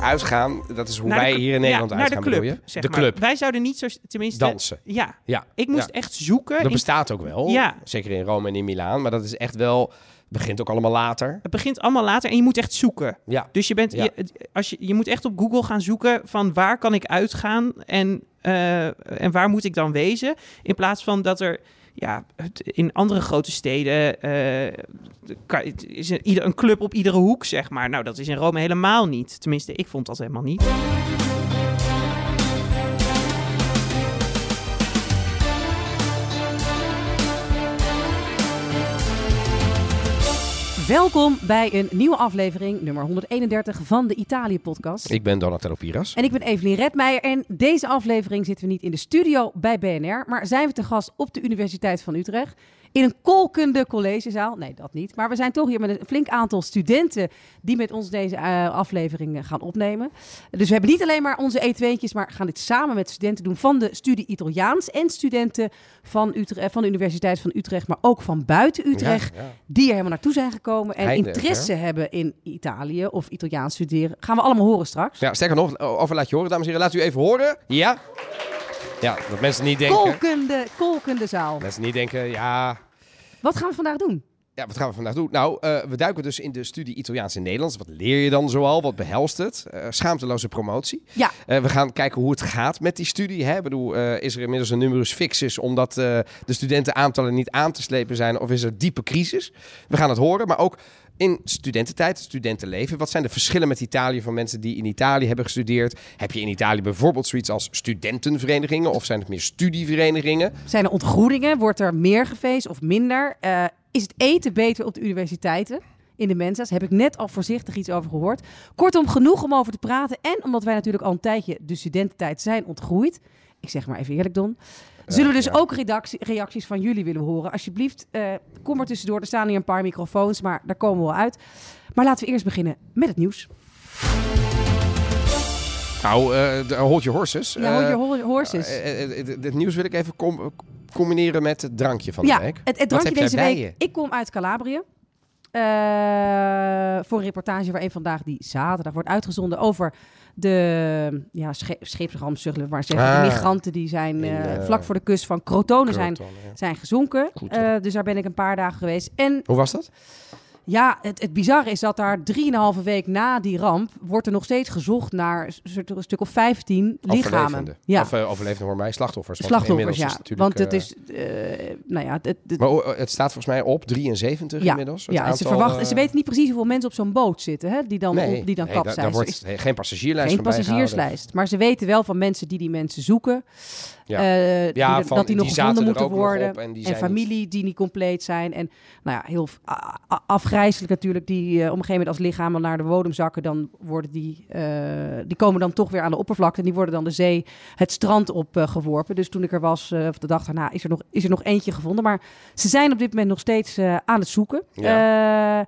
uitgaan, dat is hoe Naar de wij cl- hier in Nederland ja, uitgaan, naar de club, bedoel je? Zeg de maar. club, Wij zouden niet zo... Tenminste... dansen. Ja. Ja, Ik moest Ja. echt zoeken. dat in- bestaat ook wel. Ja. Zeker in Rome en in Milaan. Maar dat is echt wel... begint ook allemaal later. Het begint allemaal later en je moet echt zoeken. Ja. Dus je, bent, Ja. je, het- als je, je moet echt op Google gaan zoeken van waar kan ik uitgaan en, eh, en waar moet ik dan wezen. In plaats van dat er ja, het- in andere grote steden eh, kan- het is een, ieder, een club op iedere hoek, zeg maar. Nou, dat is in Rome helemaal niet. Tenminste, ik vond dat helemaal niet. Welkom bij een nieuwe aflevering, nummer 131 van de Italië-podcast. Ik ben Donatello Piras. En ik ben Evelien Redmeijer en deze aflevering zitten we niet in de studio bij BNR, maar zijn we te gast op de Universiteit van Utrecht in een kolkende collegezaal. Nee, dat niet. Maar we zijn toch hier met een flink aantal studenten die met ons deze eh, aflevering eh, gaan opnemen. Dus we hebben niet alleen maar onze eetweentjes, maar gaan dit samen met studenten doen van de studie Italiaans en studenten van, Utrecht, eh, van de Universiteit van Utrecht, maar ook van buiten Utrecht Ja, ja. die er helemaal naartoe zijn gekomen en Heindelijk, interesse hebben in Italië of Italiaans studeren. Gaan we allemaal horen straks. Ja, sterker nog, over laat je horen, dames en heren. Laat u even horen. Ja? Ja, dat mensen niet denken... Kolkende, kolkende zaal. Mensen niet denken, ja... Wat gaan we vandaag doen? Ja, wat gaan we vandaag doen? Nou, eh, we duiken dus in de studie Italiaans en Nederlands. Wat leer je dan zoal? Wat behelst het? Eh, schaamteloze promotie. Ja, Eh, we gaan kijken hoe het gaat met die studie. Hè? Ik bedoel, eh, is er inmiddels een numerus fixus omdat eh, de studentenaantallen niet aan te slepen zijn? Of is er diepe crisis? We gaan het horen, maar ook in studententijd, studentenleven. Wat zijn de verschillen met Italië van mensen die in Italië hebben gestudeerd? Heb je in Italië bijvoorbeeld zoiets als studentenverenigingen of zijn het meer studieverenigingen? zijn er ontgroeningen? Wordt er meer gefeest of minder? Eh, is het eten beter op de universiteiten? In de mensa's heb ik net al voorzichtig iets over gehoord. Kortom, genoeg om over te praten. En omdat wij natuurlijk al een tijdje de studententijd zijn ontgroeid. Ik zeg maar even eerlijk, Don. Zullen we dus ja. ook redactie- reacties van jullie willen horen? Alsjeblieft, eh, kom er tussendoor. Er staan hier een paar microfoons, maar daar komen we wel uit. Maar laten we eerst beginnen met het nieuws. Nou, eh, de- hold your horses. Ja, hoor Eh, je hoor- horses. eh, eh, eh, dit nieuws wil ik even com- combineren met het drankje van de ja, week. Het, het Wat drankje heb deze jij bij week. je? Ik kom uit Calabrië. eh, voor een reportage waarin vandaag die zaterdag wordt uitgezonden over de ja, sche scheepsramp, zullen we maar zeggen. Ah. de migranten die zijn In, eh, eh, vlak voor de kust van Crotone zijn, Croton, ja. zijn gezonken. Goed, Oh. Eh, dus daar ben ik een paar dagen geweest. En Hoe was dat? ja, het, het bizarre is dat daar drieënhalve week na die ramp wordt er nog steeds gezocht naar een soort- een stuk of vijftien lichamen. Overlevenden. Ja, Of eh, overlevenden hoor mij, slachtoffers. want slachtoffers, inmiddels is ja. natuurlijk, Want het eh, is, eh, nou ja, het, het- Maar oh, eh, het staat volgens mij op 73 Ja, inmiddels. Het ja, aantal, ze, verwachten, eh, ze weten niet precies hoeveel mensen op zo'n boot zitten, hè, die dan, nee, op, die dan nee, daar- kapseizen. Daar Er is wordt he- geen passagierslijst geen van bijgehouden. passagierslijst. Maar ze weten wel van mensen die die mensen zoeken. Ja. eh, die Ja, er- van, dat die nog zaten gevonden er moeten ook nog worden. op en die en zijn familie die niet compleet zijn. En nou ja, heel a- a- afgrijzelijk natuurlijk, die eh, op een gegeven moment als lichamen naar de bodem zakken, dan worden die, eh, die komen dan toch weer aan de oppervlakte en die worden dan de zee, het strand op eh, geworpen. Dus toen ik er was, eh, of de dag daarna, is er, nog, is er nog eentje gevonden. Maar ze zijn op dit moment nog steeds eh, aan het zoeken. Eh,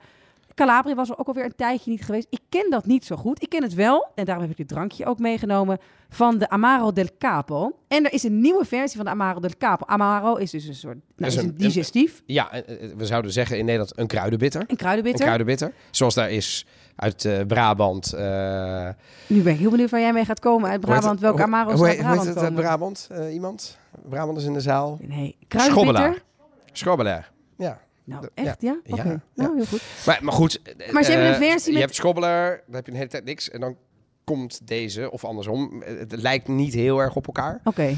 Calabria was er ook alweer een tijdje niet geweest. Ik ken dat niet zo goed. Ik ken het wel, en daarom heb ik dit drankje ook meegenomen, van de Amaro del Capo. En er is een nieuwe versie van de Amaro del Capo. Amaro is dus een soort, nou, Dat is is een, een- digestief, Ja, eh, eh, we zouden zeggen in Nederland een kruidenbitter. een kruidenbitter. Een kruidenbitter. Zoals daar is uit eh, Brabant. eh, Nu ben ik heel benieuwd waar jij mee gaat komen uit hoe heet Brabant. het- Welke hoe- Amaro's hoe uit heet- hoe heet Brabant het uit komen? Brabant? Eh, iemand? Brabant is in de zaal. nee, Schobbelaar. kruidenbitter. Schobbelaar. Ja. Nou, De- echt, ja? Ja, Oké, ja. nou, heel goed. Maar, maar goed. eh, Maar ze hebben een eh, versie Je met- hebt Schobbelaar, dan heb je een hele tijd niks. En dan komt deze, of andersom. Eh, Het lijkt niet heel erg op elkaar. Oké. Eh,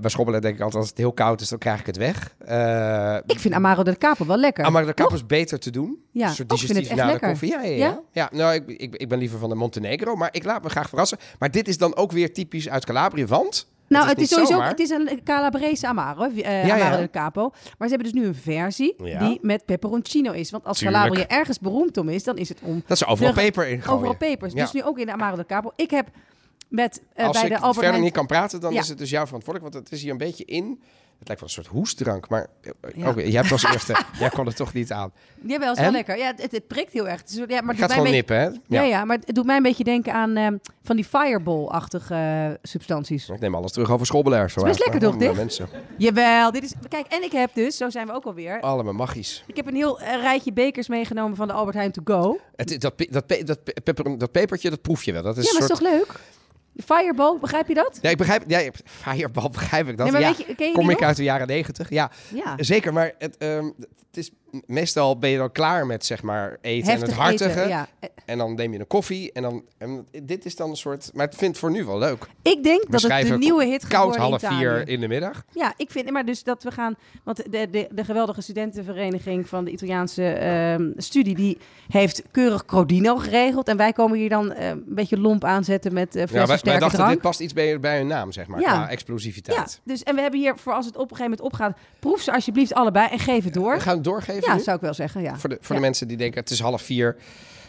bij Schobbelaar denk ik altijd, als het heel koud is, dan krijg ik het weg. Eh Ik vind Amaro del Capo wel lekker. Oh. ah, maar de kap is beter te doen. Ja, Een soort oh, ik vind het digestief echt na de lekker. koffie. Ja, ja, ja. Ja? ja? nou, ik, ik, ik ben liever van de Montenegro, maar ik laat me graag verrassen. Maar dit is dan ook weer typisch uit Calabria, want... Nou, het is, niet sowieso zomaar. het is een Calabrese Amaro, eh, ja. Amaro del Capo. Maar ze hebben dus nu een versie Ja. die met peperoncino is. Want als Tuurlijk. Calabria ergens beroemd om is, dan is het om Dat ze overal de- peper in gooien. overal pepers. Ja. Dus nu ook in de Amaro del Capo. Ik heb met, Als eh, bij ik de verder Albert Heijn... niet kan praten, dan Ja. is het dus jouw verantwoordelijk. Want het is hier een beetje in Het lijkt wel een soort hoestdrank, maar eh, Ja. oké, jij hebt als eerste, jij kon het toch niet aan. Jawel, is wel En? lekker. Ja, het, het prikt heel erg. Het is- ja, maar Maar het je gaat doet mij gewoon nippen, een hè? beetje- Ja. ja, maar het doet mij een beetje denken aan ehm, van die fireball-achtige eh, substanties. Ik neem alles terug over schobbelaars. Het is best lekker, toch, dit? Dick? Mensen, Jawel, dit is... Kijk, en ik heb dus, zo zijn we ook alweer... allemaal magisch. Ik heb een heel eh, rijtje bekers meegenomen van de Albert Heijn To Go. Het, dat, pe- dat, pe- dat, pe- pepper- dat pepertje, dat proef je wel. Dat is ja, een maar soort... is toch leuk? De Fireball, begrijp je dat? Ja, ik begrijp... Ja, je- fireball begrijp ik dat. nee, maar ja, weet je, ken je die kom ik nog? uit de jaren negentig. Ja, Ja. zeker. Maar het, ehm, het is... Meestal ben je dan klaar met, zeg maar, eten en Heftig het hartige. eten, ja. Eh, En dan neem je een koffie. En dan... En dit is dan een soort... Maar het vindt voor nu wel leuk. Ik denk dat het de schrijven nieuwe hit gaat Koud worden in half vier Italië. in de middag. Ja, ik vind, maar dus dat we gaan, want de, de, de geweldige studentenvereniging van de Italiaanse ehm, studie, die heeft keurig Crodino geregeld. En wij komen hier dan ehm, een beetje lomp aanzetten met eh flessen Ja, wij, wij sterke dachten, drank. dit past iets bij, bij hun naam, zeg maar. Ja. Qua ja, explosiviteit. dus en we hebben hier voor als het op een gegeven moment opgaat, proef ze alsjeblieft allebei en geef het door. We gaan het doorgeven Ja, nu? zou ik wel zeggen. Ja. Voor, de, voor de Ja. mensen die denken, het is half vier.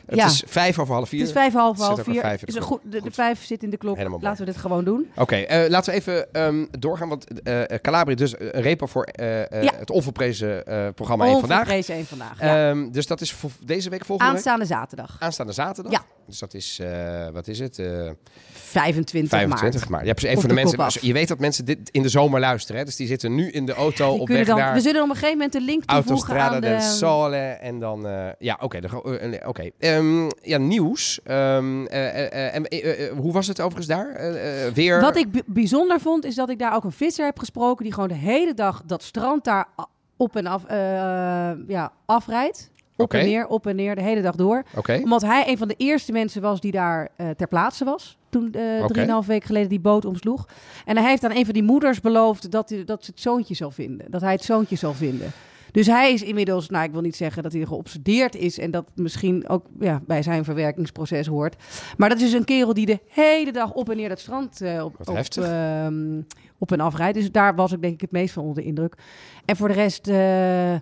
Het Ja. is vijf over half vier. Het is vijf half Zit half ook vier. een vijf in de Is een klok. goed, de, de Goed. vijf zit in de klok. Helemaal mooi. Laten we dit gewoon doen. Oké, eh, laten we even ehm, doorgaan. Want eh eh, Calabria, dus eh, een repo voor eh, eh, Ja. het onvolprezen eh, programma één vandaag. Onverprezen één vandaag. ja. Ehm, dus dat is voor deze week volgende week? Aanstaande zaterdag. Aanstaande zaterdag. Ja. Dus dat is, eh, wat is het? Eh 25, 25 maart. maart. Ja, precies. dus Even voor de de kop mensen. af. Je weet dat mensen dit in de zomer luisteren. Hè? Dus die zitten nu in de auto Die op kunnen weg dan, naar... we zullen op een gegeven moment een link toevoegen Autostrada aan de... del Sole en dan... eh, ja, oké. dan gaan we- eh, nee, oké. Ehm, ja, nieuws. Ehm, eh, eh, eh, eh, eh, eh, hoe was het overigens daar? Eh, eh, weer... Wat ik b- bijzonder vond, is dat ik daar ook een visser heb gesproken... die gewoon de hele dag dat strand daar a- op en af eh, ja, afrijdt. Op Oké. en neer, op en neer, de hele dag door. Oké. Omdat hij een van de eerste mensen was die daar eh, ter plaatse was. Toen eh Oké. drieënhalf weken geleden die boot omsloeg. En hij heeft aan een van die moeders beloofd dat, hij, dat ze het zoontje zal vinden. Dat hij het zoontje zal vinden. Dus hij is inmiddels, nou ik wil niet zeggen dat hij geobsedeerd is. En dat misschien ook ja, bij zijn verwerkingsproces hoort. Maar dat is dus een kerel die de hele dag op en neer dat strand eh, op, Wat op, heftig. ehm, op en afrijdt. Dus daar was ik denk ik het meest van onder de indruk. En voor de rest... eh,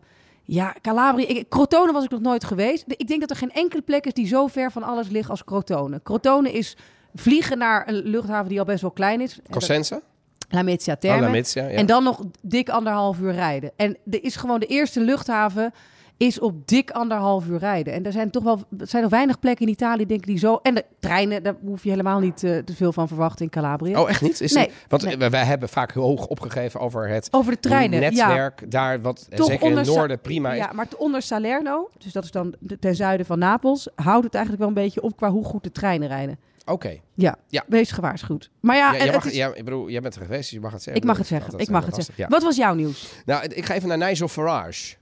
ja, Calabria. Ik, Crotone was ik nog nooit geweest. Ik denk dat er geen enkele plek is die zo ver van alles ligt als Crotone. Crotone is vliegen naar een luchthaven die al best wel klein is. En dat- Cosenza? La Mezzia Terme. Alla Mezia, Ah, ja. En dan nog dik anderhalf uur rijden. En er is gewoon de eerste luchthaven is op dik anderhalf uur rijden. En er zijn toch wel er zijn nog weinig plekken in Italië, denk ik, die zo... En de treinen, daar hoef je helemaal niet eh, te veel van verwachten in Calabria. Oh, echt niet? Is Nee, het- want eh, nee. wij- wij hebben vaak heel hoog opgegeven over het Over de treinen, ja. netwerk daar, wat eh, Toch zeker in het onder- noorden prima is. Ja, maar t- onder Salerno, dus dat is dan de- ten zuiden van Napels, houdt het eigenlijk wel een beetje op qua hoe goed de treinen rijden. Oké. Ja, Ja. wees gewaarschuwd. Maar ja, Ja, en jij mag- het is- ja, ik bedoel, jij bent er geweest, dus je mag het zeggen. ik mag het bedoel, zeggen. altijd, Ik mag eh, het lastig, zeggen. ja. Wat was jouw nieuws? Nou, ik ga even naar Nigel Farage.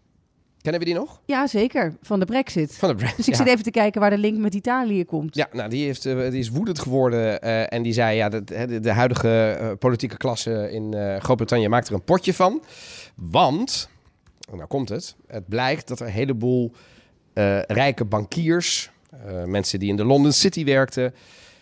Kennen we die nog? Ja, zeker. Van de brexit. Van de brand. Dus ik ja. zit even te kijken waar de link met Italië komt. Ja, nou, die, heeft, eh, die is woedend geworden eh, en die zei, ja, dat, hè, de, de huidige eh, politieke klasse in eh, Groot-Brittannië maakt er een potje van. Want, en nou komt het, het blijkt dat er een heleboel eh, rijke bankiers, eh, mensen die in de London City werkten,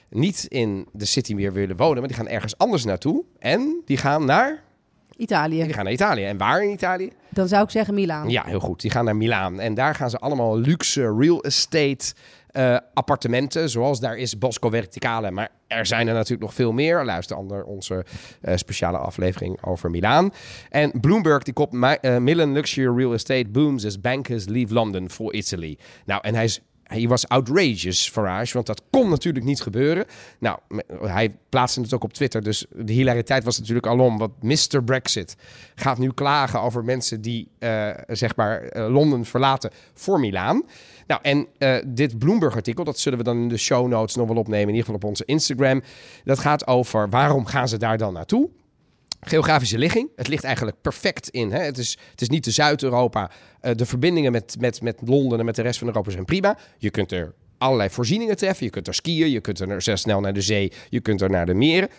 niet in de city meer willen wonen, maar die gaan ergens anders naartoe. En die gaan naar, die Italië. gaan naar Italië. En waar in Italië? Dan zou ik zeggen Milaan. Ja, heel goed. Die gaan naar Milaan. En daar gaan ze allemaal luxe real estate eh, appartementen. Zoals daar is Bosco Verticale. Maar er zijn er natuurlijk nog veel meer. Luister onder onze eh, speciale aflevering over Milaan. En Bloomberg die kopt Mi- eh, Milan Luxury Real Estate booms as bankers leave London for Italy. Nou, en hij is... Hij was outrageous, Farage, want dat kon natuurlijk niet gebeuren. Nou, me- hij plaatste het ook op Twitter, dus de hilariteit was natuurlijk alom. Want Mr. Brexit gaat nu klagen over mensen die, eh, zeg maar, eh, Londen verlaten voor Milaan. Nou, en eh, dit Bloomberg-artikel, dat zullen we dan in de show notes nog wel opnemen, in ieder geval op onze Instagram. Dat gaat over waarom gaan ze daar dan naartoe? Geografische ligging. Het ligt eigenlijk perfect in. Hè? Het, is, het is niet de Zuid-Europa. Eh, de verbindingen met, met, met Londen en met de rest van Europa zijn prima. Je kunt er allerlei voorzieningen treffen. Je kunt er skiën. Je kunt er zeer snel naar de zee. Je kunt er naar de meren.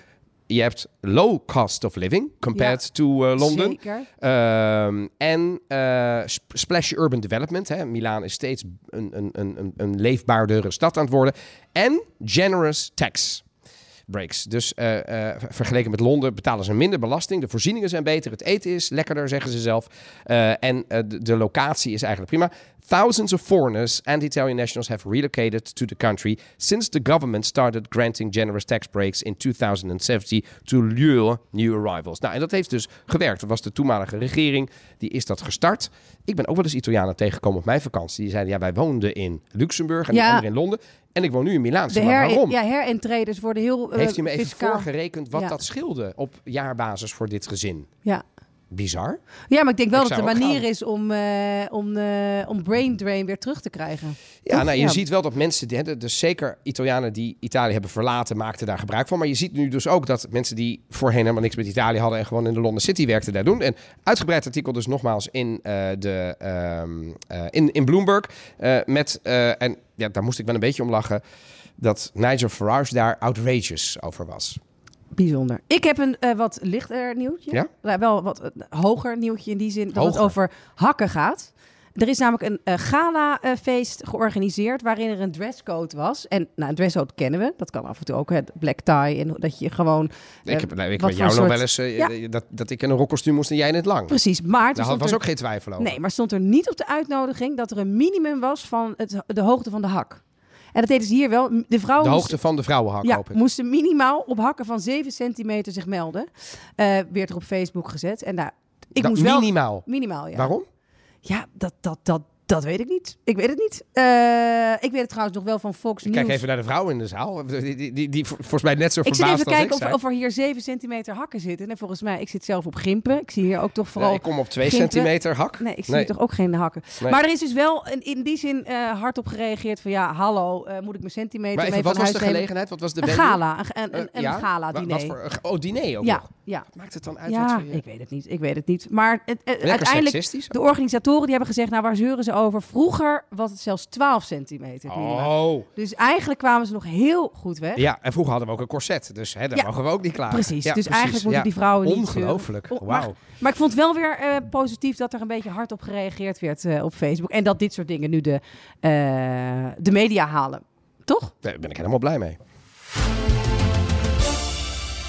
Je hebt low cost of living compared to eh, Londen. Zeker. Ehm, en eh, sp- Splash Urban Development. Hè. Milaan is steeds een, een, een, een- een leefbaardere stad aan het worden. En generous tax breaks. Dus eh, eh, vergeleken met Londen betalen ze minder belasting. De voorzieningen zijn beter. Het eten is lekkerder, zeggen ze zelf. Eh, en eh, de, de locatie is eigenlijk prima. Thousands of foreigners and Italian nationals have relocated to the country since the government started granting generous tax breaks in 2017 to lure new arrivals. Nou, en dat heeft dus gewerkt. Dat was de toenmalige regering, die is dat gestart. Ik ben ook wel eens Italianen tegengekomen op mijn vakantie. Die zeiden, ja, wij woonden in Luxemburg en Ja. de andere in Londen. En ik woon nu in Milaan. Ik De zeg, maar her, waarom? ja, herintreders worden heel eh, Heeft u me even fiscaal. voorgerekend wat Ja. dat scheelde op jaarbasis voor dit gezin? Ja. Bizar. ja, maar ik denk wel Ik dat zou het ook een manier gaan. is om, eh, om, eh, om brain drain weer terug te krijgen. Ja, Toch? nou, je Ja. ziet wel dat mensen, die- hè, dus zeker Italianen die Italië hebben verlaten, maakten daar gebruik van. Maar je ziet nu dus ook dat mensen die voorheen helemaal niks met Italië hadden en gewoon in de London City werkten, daar doen. En uitgebreid artikel dus nogmaals in, eh, de, ehm, eh, in, in Bloomberg. eh, met, eh, en ja, daar moest ik wel een beetje om lachen, dat Nigel Farage daar outrageous over was. Bijzonder. Ik heb een eh, wat lichter nieuwtje. Ja? Nou, wel wat eh, hoger nieuwtje in die zin dat Hoger. het over hakken gaat. Er is namelijk een eh, galafeest georganiseerd waarin er een dresscode was. En nou, een dresscode kennen we. Dat kan af en toe ook, hè, black tie. En dat je gewoon... eh, Ik heb nou, ik wat weet voor jou nog soort- wel eens eh, Ja. dat, dat ik in een rockkostuum moest en jij in het lang. Precies, maar... toen Daar had- stond was er- ook geen twijfel over. Nee, maar stond er niet op de uitnodiging dat er een minimum was van het, de hoogte van de hak. En dat deden ze hier wel. De vrouwen de moesten- hoogte van de vrouwenhak, ja, hoop ik. moesten minimaal op hakken van 7 centimeter zich melden. Eh werd er op Facebook gezet. En daar, ik Dat moest wel... minimaal. Minimaal, ja. Waarom? Ja, dat, dat, dat, dat weet ik niet. Ik weet het niet. Eh, ik weet het trouwens nog wel van Fox Ik News. kijk even naar de vrouw in de zaal. Die, die, die, die vo- volgens mij net zo ik zit verbaasd even als te kijken ik of, zijn. of er hier 7 centimeter hakken zitten. En volgens mij, ik zit zelf op gimpen. Ik zie hier ook toch vooral... Nee, ik kom op 2 Gimpen. centimeter hak. Nee, ik zie Nee. hier toch ook geen hakken. Nee. Maar er is dus wel een- in die zin eh hardop gereageerd van... Ja, hallo, eh, moet ik mijn centimeter maar even, mee wat van was huis de nemen? gelegenheid? Wat was de Een venue? gala, een, een, Eh, een, een ja? Wa- gala-diner. Wat voor, oh, diner ook ja, nog. ja. Maakt het dan uit wat Ja, voor je... ik weet het niet. Ik weet het niet. Maar het, eh, Lekker uiteindelijk, seksistisch. de organisatoren die hebben gezegd... Nou, waar zeuren ze over? Vroeger was het zelfs 12 centimeter minimaal. Oh. Dus eigenlijk kwamen ze nog heel goed weg. Ja, en vroeger hadden we ook een corset. Dus hè, daar Ja. mogen we ook niet klaar. Precies. dus eigenlijk moeten die vrouwen niet... zeuren. Ongelooflijk. Oh, maar- Wauw. Maar ik vond het wel weer eh, positief dat er een beetje hard op gereageerd werd eh, op Facebook. En dat dit soort dingen nu de, eh, de media halen. Toch? Daar ben ik helemaal blij mee.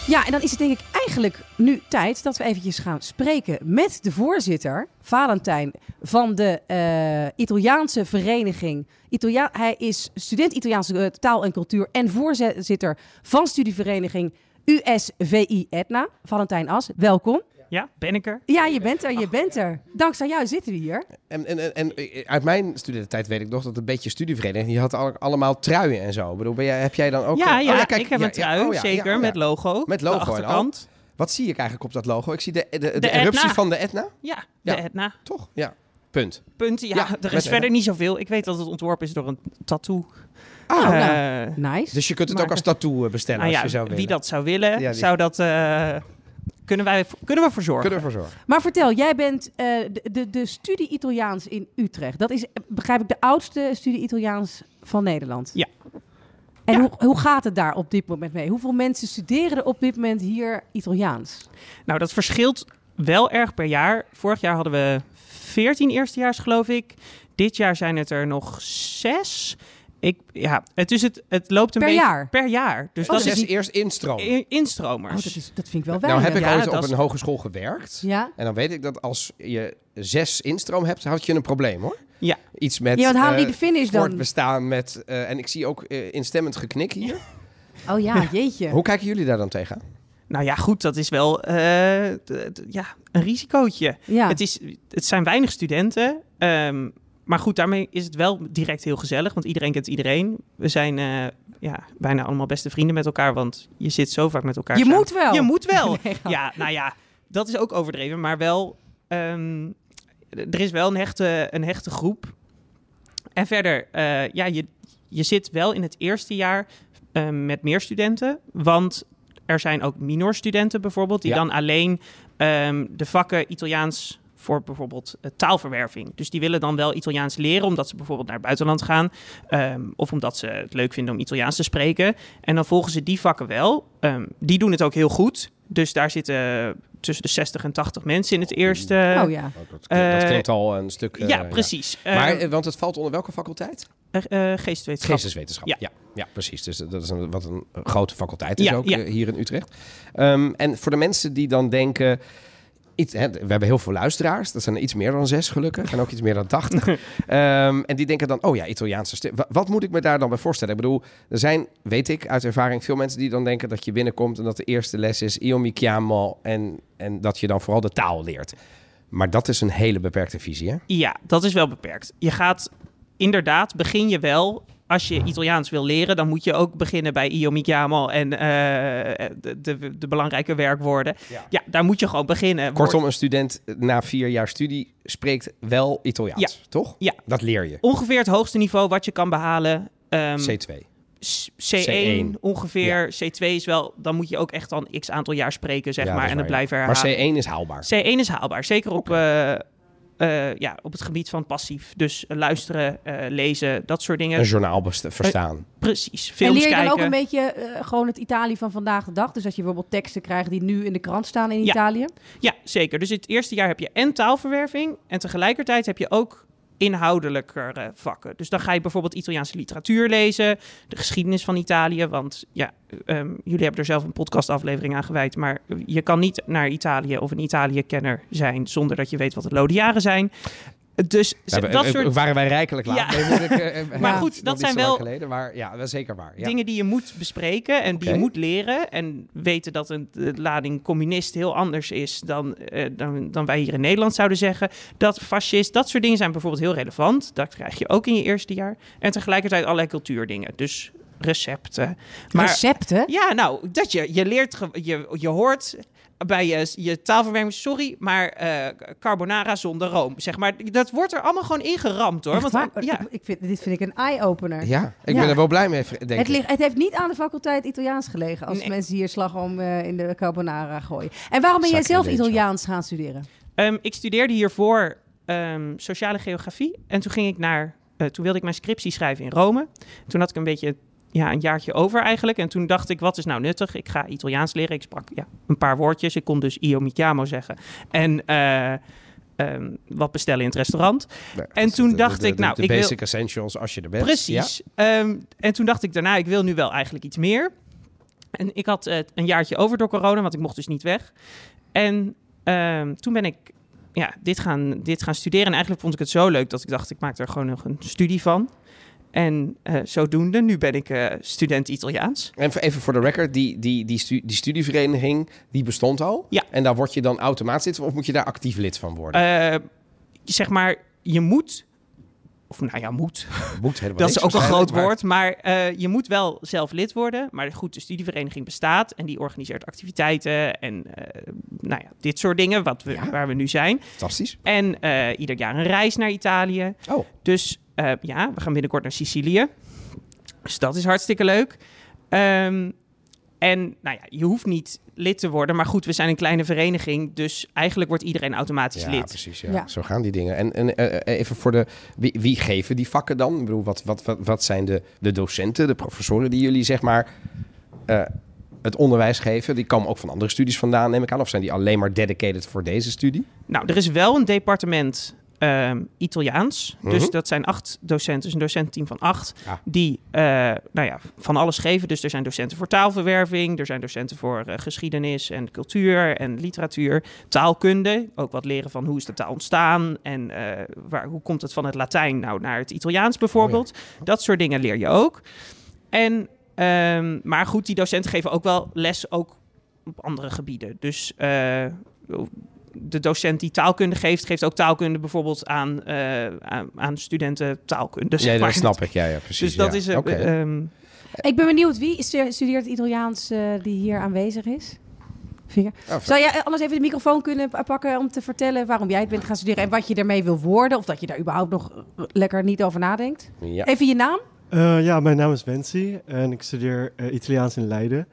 Ja, en dan is het denk ik eigenlijk nu tijd dat we eventjes gaan spreken met de voorzitter, Valentijn, van de eh, Italiaanse vereniging. Italia hij is student Italiaanse eh, taal en cultuur en voorzitter van studievereniging USVI Etna. Valentijn As, welkom. Ja, ben ik er? Ja, je bent er, je bent er. Dankzij jou zitten we hier. En, en, en, en eh, uit mijn studententijd weet ik nog dat een beetje studievereniging... je had al- allemaal truien en zo. Ik bedoel, ben jij, heb jij dan ook... ja, oh, ja, kijk, ik heb ja, een ja, trui, oh, ja, zeker, ja, oh, met ja. logo. Met de logo en al. achterkant. Wat zie ik eigenlijk op dat logo? Ik zie de, de, de, de Etna. eruptie van de Etna. Ja, Ja. de Etna. Toch? Ja. Punt. Punten, ja, Ja, er met is de verder niet zoveel. Ik weet dat het ontworpen is door een tattoo. Ah, Eh, nou, nice. Dus je kunt het Maar- ook als tattoo eh, bestellen nou als ja, je zou willen. wie dat zou willen, Ja, die- zou dat... eh, kunnen, wij, kunnen we voor zorgen. Kunnen we voor zorgen. Maar vertel, jij bent eh, de, de, de studie Italiaans in Utrecht. Dat is, eh, begrijp ik, de oudste studie Italiaans van Nederland. Ja. En Ja. Hoe, hoe gaat het daar op dit moment mee? Hoeveel mensen studeren er op dit moment hier Italiaans? Nou, dat verschilt wel erg per jaar. Vorig jaar hadden we 14 eerstejaars, geloof ik. Dit jaar zijn het er nog zes. Ik, ja, het, is het, het loopt een Per beetje... jaar? Per jaar. Dus Dat dat is is eerst instroom. in- Oh, dat, instromers. is, dat vind ik wel weinig. nou heb ik Ja, ooit dat op is- een hogeschool gewerkt. Ja? En dan weet ik dat als je zes instroom hebt, had je een probleem hoor. Ja. Iets met ja, want halen die eh, de finish dan? voortbestaan met... eh, en ik zie ook eh, instemmend geknik hier. Oh ja, jeetje. Hoe kijken jullie daar dan tegen? Nou ja, goed, dat is wel eh, d- d- ja, een risicootje. Ja. Het, is, het zijn weinig studenten. ehm, maar goed, daarmee is het wel direct heel gezellig, want iedereen kent iedereen. We zijn eh, ja, bijna allemaal beste vrienden met elkaar, want je zit zo vaak met elkaar Je samen. moet wel. Je moet wel. Nee, grap. ja, nou ja, dat is ook overdreven, maar wel... ehm, d- er is wel een hechte, een hechte groep. En verder, eh, ja, je, je zit wel in het eerste jaar eh, met meer studenten, want er zijn ook minorstudenten bijvoorbeeld, die Ja. dan alleen ehm, de vakken Italiaans voor bijvoorbeeld eh, taalverwerving. Dus die willen dan wel Italiaans leren, omdat ze bijvoorbeeld naar het buitenland gaan, ehm, of omdat ze het leuk vinden om Italiaans te spreken. En dan volgen ze die vakken wel. Ehm, die doen het ook heel goed. Dus daar zitten tussen de 60 en 80 mensen in het eerste. oh ja. dat, klinkt- dat klinkt klinkt al een stuk... eh, ja, precies. Maar, Maar, eh, want het valt onder welke faculteit? geestwetenschap. Geesteswetenschap. Ja. Ja. Ja, precies. Dus dat is een, wat een grote faculteit is Ja, ook ja. eh, hier in Utrecht. Ehm, en voor de mensen die dan denken. iets, hè, we hebben heel veel luisteraars. Dat zijn er iets meer dan zes gelukkig. En ook iets meer dan tachtig. Ehm, en die denken dan, oh ja, Italiaanse stem. Wa- Wat moet ik me daar dan bij voorstellen? Ik bedoel, er zijn, weet ik uit ervaring, veel mensen die dan denken dat je binnenkomt... en dat de eerste les is Io mi chiamo en, en dat je dan vooral de taal leert. Maar dat is een hele beperkte visie, hè? Ja, dat is wel beperkt. Je gaat inderdaad, begin je wel. Als je Italiaans wil leren, dan moet je ook beginnen bij Io mi chiamo en eh, de, de, de belangrijke werkwoorden. Ja. Ja. daar moet je gewoon beginnen. Kortom, een student eh, na vier jaar studie spreekt wel Italiaans, toch? Ja. Dat leer je. Ongeveer het hoogste niveau wat je kan behalen. ehm, C2. S- C1, C1. ongeveer. C2 is wel, dan moet je ook echt dan x aantal jaar spreken, zeg Ja, maar. dat En dat is waar, blijven ja. herhalen. Maar C1 is haalbaar. C1 is haalbaar, zeker op, eh, eh, ja, op het gebied van passief. Dus eh, luisteren, eh, lezen, dat soort dingen. Een journaal best- verstaan. Precies, En films leer je dan kijken. ook een beetje eh, gewoon het Italië van vandaag de dag? Dus dat je bijvoorbeeld teksten krijgt die nu in de krant staan in Ja. Italië? Ja, zeker. Dus het eerste jaar heb je en taalverwerving en tegelijkertijd heb je ook inhoudelijkere vakken. Dus dan ga je bijvoorbeeld Italiaanse literatuur lezen, de geschiedenis van Italië, want ja, ehm, jullie hebben er zelf een podcastaflevering aan gewijd, maar je kan niet naar Italië of een Italië-kenner zijn zonder dat je weet wat de Lodiaren zijn. Dus Ja, we- dat eh, soort Waren wij rijkelijk laat. Ja. Nee, dat ik, eh, eh, Maar ja, goed, nog dat niet zijn zo lang wel- Geleden, maar ja, dat is zeker waar. Ja. dingen die je moet bespreken en die je Oké. moet leren. En weten dat een de lading communist heel anders is dan, eh, dan, dan wij hier in Nederland zouden zeggen. Dat fascist, dat soort dingen zijn bijvoorbeeld heel relevant. Dat krijg je ook in je eerste jaar. En tegelijkertijd allerlei cultuurdingen. Dus recepten. Maar, Recepten? Ja, nou, dat je, je leert, ge- je, je hoort bij je, je taalverwerking, sorry, maar eh, carbonara zonder room, zeg maar. Dat wordt er allemaal gewoon ingeramd, hoor. Echt Want, waar? ja. Ik- ik vind, dit vind ik een eye-opener. Ja, ik Ja. ben er wel blij mee, denk Het, ik. ligt, het heeft niet aan de faculteit Italiaans gelegen als Nee. mensen hier slagroom eh, in de carbonara gooien. En waarom ben jij zelf Sacrilege. Italiaans gaan studeren? Ehm, ik studeerde hiervoor ehm, sociale geografie. En toen ging ik naar. eh, toen wilde ik mijn scriptie schrijven in Rome. Toen had ik een beetje. Ja, een jaartje over eigenlijk. En toen dacht ik, wat is nou nuttig? Ik ga Italiaans leren. Ik sprak ja, een paar woordjes. Ik kon dus Io mi chiamo zeggen. En eh, ehm, wat bestellen in het restaurant. Nee, en dus toen de- dacht de- ik, de- nou, de ik wil- basic essentials als je er bent. Ja. Precies. Ehm, en toen dacht ik daarna, ik wil nu wel eigenlijk iets meer. En ik had eh, een jaartje over door corona, want ik mocht dus niet weg. En ehm, toen ben ik ja, dit, gaan, dit gaan studeren. En eigenlijk vond ik het zo leuk dat ik dacht, ik maak er gewoon nog een studie van. En eh, zodoende, nu ben ik eh, student Italiaans. En voor- even voor de record, die, die, die, stu- die studievereniging, die bestond al. Ja. En daar word je dan automatisch lid van, of moet je daar actief lid van worden? Eh, zeg maar, je moet... Of nou ja, moet. moet helemaal Dat niks is ook een groot waarschijnlijk, maar- woord, maar eh, je moet wel zelf lid worden. Maar goed, de studievereniging bestaat en die organiseert activiteiten en eh, nou ja, dit soort dingen wat we, Ja. waar we nu zijn. Fantastisch. En eh, ieder jaar een reis naar Italië. Oh, Dus eh, ja, we gaan binnenkort naar Sicilië. Dus dat is hartstikke leuk. Ehm, en nou ja, je hoeft niet lid te worden, maar goed, we zijn een kleine vereniging, dus eigenlijk wordt iedereen automatisch ja, lid. precies. Ja. Ja. Zo gaan die dingen. En, en eh, eh, even voor de... Wie, wie geven die vakken dan? Ik bedoel, wat, wat, wat, wat zijn de, de docenten, de professoren die jullie, zeg maar... eh, het onderwijs geven, die komen ook van andere studies vandaan, neem ik aan. Of zijn die alleen maar dedicated voor deze studie? Nou, er is wel een departement ehm, Italiaans. Dus Mhm. dat zijn acht docenten, dus een docententeam van acht, Ja. die eh, nou ja, van alles geven. Dus er zijn docenten voor taalverwerving, er zijn docenten voor eh, geschiedenis en cultuur en literatuur, taalkunde, ook wat leren van hoe is de taal ontstaan en eh, waar, hoe komt het van het Latijn nou naar het Italiaans bijvoorbeeld. Oh Dat soort dingen leer je ook. En, ehm, maar goed, die docenten geven ook wel les ook op andere gebieden. Dus eh, de docent die taalkunde geeft, geeft ook taalkunde bijvoorbeeld aan, eh, aan, aan studenten taalkunde. zeg nee, dat maar. snap ik. Ja, ja precies. Dus dat ja. is... eh, Oké. ehm, Ik ben benieuwd, wie stu- studeert Italiaans eh, die hier aanwezig is? Vinger. Ah, Zou jij eh, anders even de microfoon kunnen p- pakken om te vertellen waarom jij het bent gaan studeren en wat je ermee wil worden? Of dat je daar überhaupt nog eh, lekker niet over nadenkt? ja. Even je naam? Eh, ja, mijn naam is Wensi en ik studeer eh, Italiaans in Leiden.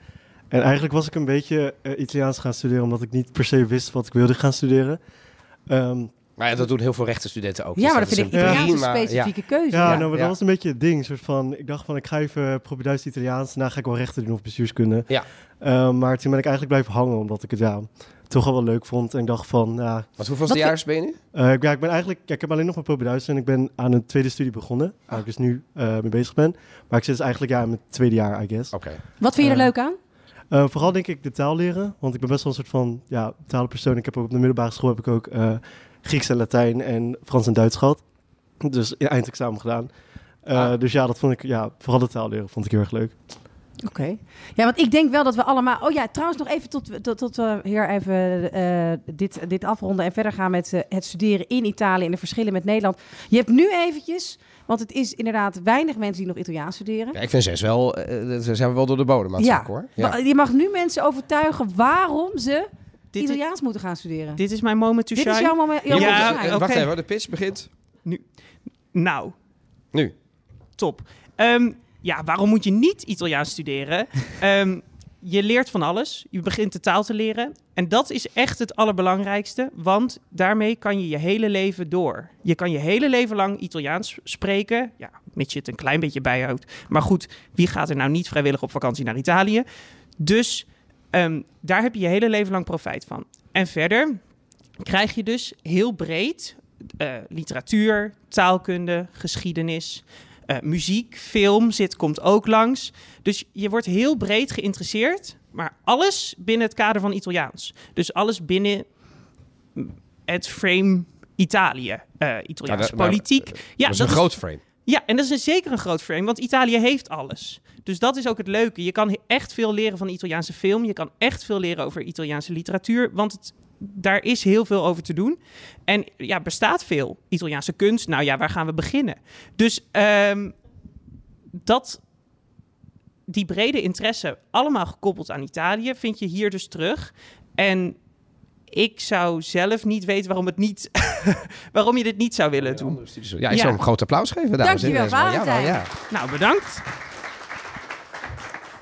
En eigenlijk was ik een beetje eh, Italiaans gaan studeren omdat ik niet per se wist wat ik wilde gaan studeren. Ehm, Maar ja, dat doen heel veel rechtenstudenten ook. Dus Ja, maar dat vind ik een Italiaans een prima- specifieke keuze. ja, ja. nou, maar ja. dat was een beetje het ding. Soort van, ik dacht van, ik ga even probeer Italiaans, daarna ga ik wel rechten doen of bestuurskunde. Ja. Ehm, maar toen ben ik eigenlijk blijven hangen omdat ik het ja, toch al wel leuk vond. En ik dacht van, ja, Wat hoeveelste Wat jaar ben je nu? Eh, ik- ja, ik ben eigenlijk, ja, ik heb alleen nog maar probeduits en ik ben aan een tweede studie begonnen, Ah. waar ik dus nu eh, mee bezig ben. Maar ik zit dus eigenlijk ja, in mijn tweede jaar, I guess. Oké. Wat vind je er Eh, leuk aan? Eh, vooral denk ik de taal leren, want ik ben best wel een soort van ja, talenpersoon. Ik heb ook op de middelbare school heb ik ook eh, Grieks en Latijn en Frans en Duits gehad. Dus ja, eindexamen gedaan. Eh, Ah. Dus ja, dat vond ik, ja, vooral de taal leren vond ik heel erg leuk. Oké. Ja, want ik denk wel dat we allemaal... Oh ja, trouwens nog even tot, tot, tot we hier even eh, dit, dit afronden... en verder gaan met eh, het studeren in Italië en de verschillen met Nederland. Je hebt nu eventjes... Want het is inderdaad weinig mensen die nog Italiaans studeren. Ja, ik vind zes wel, eh, eh, daar zijn we wel door de bodem aan het Ja. zakken, hoor. Ja. Maar Je mag nu mensen overtuigen waarom ze Dit is, Italiaans moeten gaan studeren. Dit, dit is mijn moment to shine. is jouw moment. Jouw Ja, moment van Eh, shine. Wacht oké. even, hoor, de pitch begint Nou, nu. top. Ehm, ja, waarom moet je niet Italiaans studeren? Ehm, je leert van alles. Je begint de taal te leren. En dat is echt het allerbelangrijkste. Want daarmee kan je je hele leven door. Je kan je hele leven lang Italiaans spreken. Ja, mits je het een klein beetje bijhoudt. Maar goed, wie gaat er nou niet vrijwillig op vakantie naar Italië? Dus ehm, daar heb je je hele leven lang profijt van. En verder krijg je dus heel breed eh, literatuur, taalkunde, geschiedenis, eh, muziek, film zit, komt ook langs. Dus je wordt heel breed geïnteresseerd, maar alles binnen het kader van Italiaans. Dus alles binnen het frame Italië, eh Nou, Italiaanse dat- nou, politiek. ja, dat is een groot frame. ja, en dat is een, zeker een groot frame, want Italië heeft alles. Dus dat is ook het leuke. Je kan he- echt veel leren van de Italiaanse film. Je kan echt veel leren over Italiaanse literatuur. Want het, daar is heel veel over te doen. En ja, bestaat veel. Italiaanse kunst, nou ja, waar gaan we beginnen? Dus ehm, dat, die brede interesse, allemaal gekoppeld aan Italië, vind je hier dus terug. En ik zou zelf niet weten waarom, het niet, waarom je dit niet zou willen doen. Ja, ik Ja. zou hem een groot applaus geven, dames en heren. Dankjewel, Ja, wel, ja. Nou, bedankt.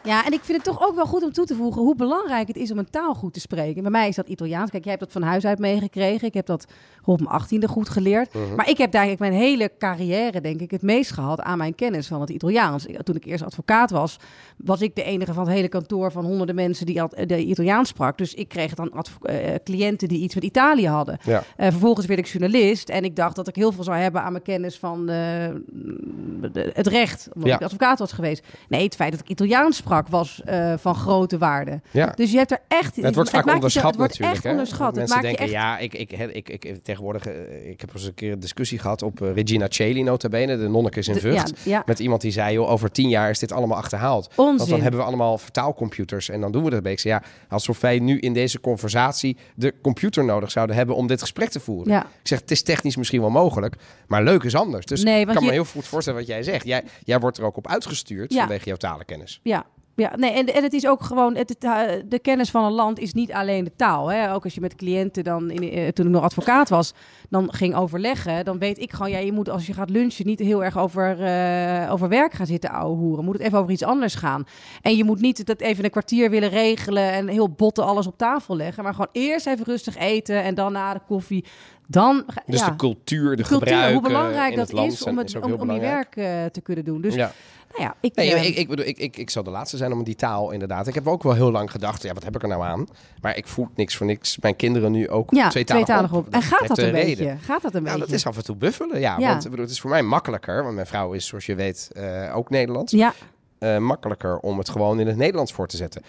Ja, en ik vind het toch ook wel goed om toe te voegen hoe belangrijk het is om een taal goed te spreken. Bij mij is dat Italiaans. Kijk, jij hebt dat van huis uit meegekregen. Ik heb dat rond mijn achttiende goed geleerd. Mhm. Maar ik heb daar eigenlijk mijn hele carrière, denk ik, het meest gehad aan mijn kennis van het Italiaans. Ik- Toen ik eerst advocaat was, was ik de enige van het hele kantoor van honderden mensen die ad- eh, de Italiaans sprak. Dus ik kreeg dan advo- eh, cliënten die iets met Italië hadden. Ja. Eh, vervolgens werd ik journalist en ik dacht dat ik heel veel zou hebben aan mijn kennis van eh, de- Eh, het recht, omdat Ja. ik advocaat was geweest. Nee, het feit dat ik Italiaans sprak was eh, van grote waarde. Ja. Dus je hebt er echt... Het wordt vaak maakt je- onderschat Het wordt natuurlijk. echt hè? onderschat. Het Mensen maakt denken, je echt... ja, ik, ik, hè, ik, ik, tegenwoordig, eh, ik heb eens een keer een discussie gehad op eh, Regina Celi, notabene, de nonnekes in de- Vught. Ja, ja. Met iemand die zei, joh, over tien jaar is dit allemaal achterhaald. Want dan Onzin. hebben we allemaal vertaalcomputers en dan doen we dat. Ik zei, ja, alsof wij nu in deze conversatie de computer nodig zouden hebben om dit gesprek te voeren. Ja. Ik zeg, het is technisch misschien wel mogelijk, maar leuk is anders. Dus Nee, ik want kan me je- heel goed voorstellen wat jij zegt. Jij, jij wordt er ook op uitgestuurd Ja. vanwege jouw talenkennis. Ja. Ja, nee, en, en het is ook gewoon, het, het, eh, de kennis van een land is niet alleen de taal. Hè? Ook als je met cliënten dan, in, eh, toen ik nog advocaat was, dan ging overleggen. Dan weet ik gewoon, ja, je moet als je gaat lunchen niet heel erg over, eh, over werk gaan zitten ouwehoeren. Moet het even over iets anders gaan. En je moet niet dat even een kwartier willen regelen en heel botten alles op tafel leggen. Maar gewoon eerst even rustig eten en dan na de koffie. Dan, ga- Dus ja, de cultuur, de cultuur, gebruiken hoe belangrijk in dat het land is zijn- om, het, ook om, heel om je belangrijk. werk eh, te kunnen doen. Dus Ja. nou ja, ik... Nee, eh, ik, ik, bedoel, ik, ik, ik zal de laatste zijn om die taal inderdaad. Ik heb ook wel heel lang gedacht, ja, wat heb ik er nou aan? Maar ik voel niks voor niks. Mijn kinderen nu ook Ja, tweetalig, tweetalig op. En gaat heeft dat een een reden. beetje? Gaat dat een Nou, dat beetje? is af en toe buffelen, ja. Ja. Want ik bedoel, het is voor mij makkelijker, want mijn vrouw is, zoals je weet, eh, ook Nederlands. Ja, Eh, makkelijker om het gewoon in het Nederlands voor te zetten.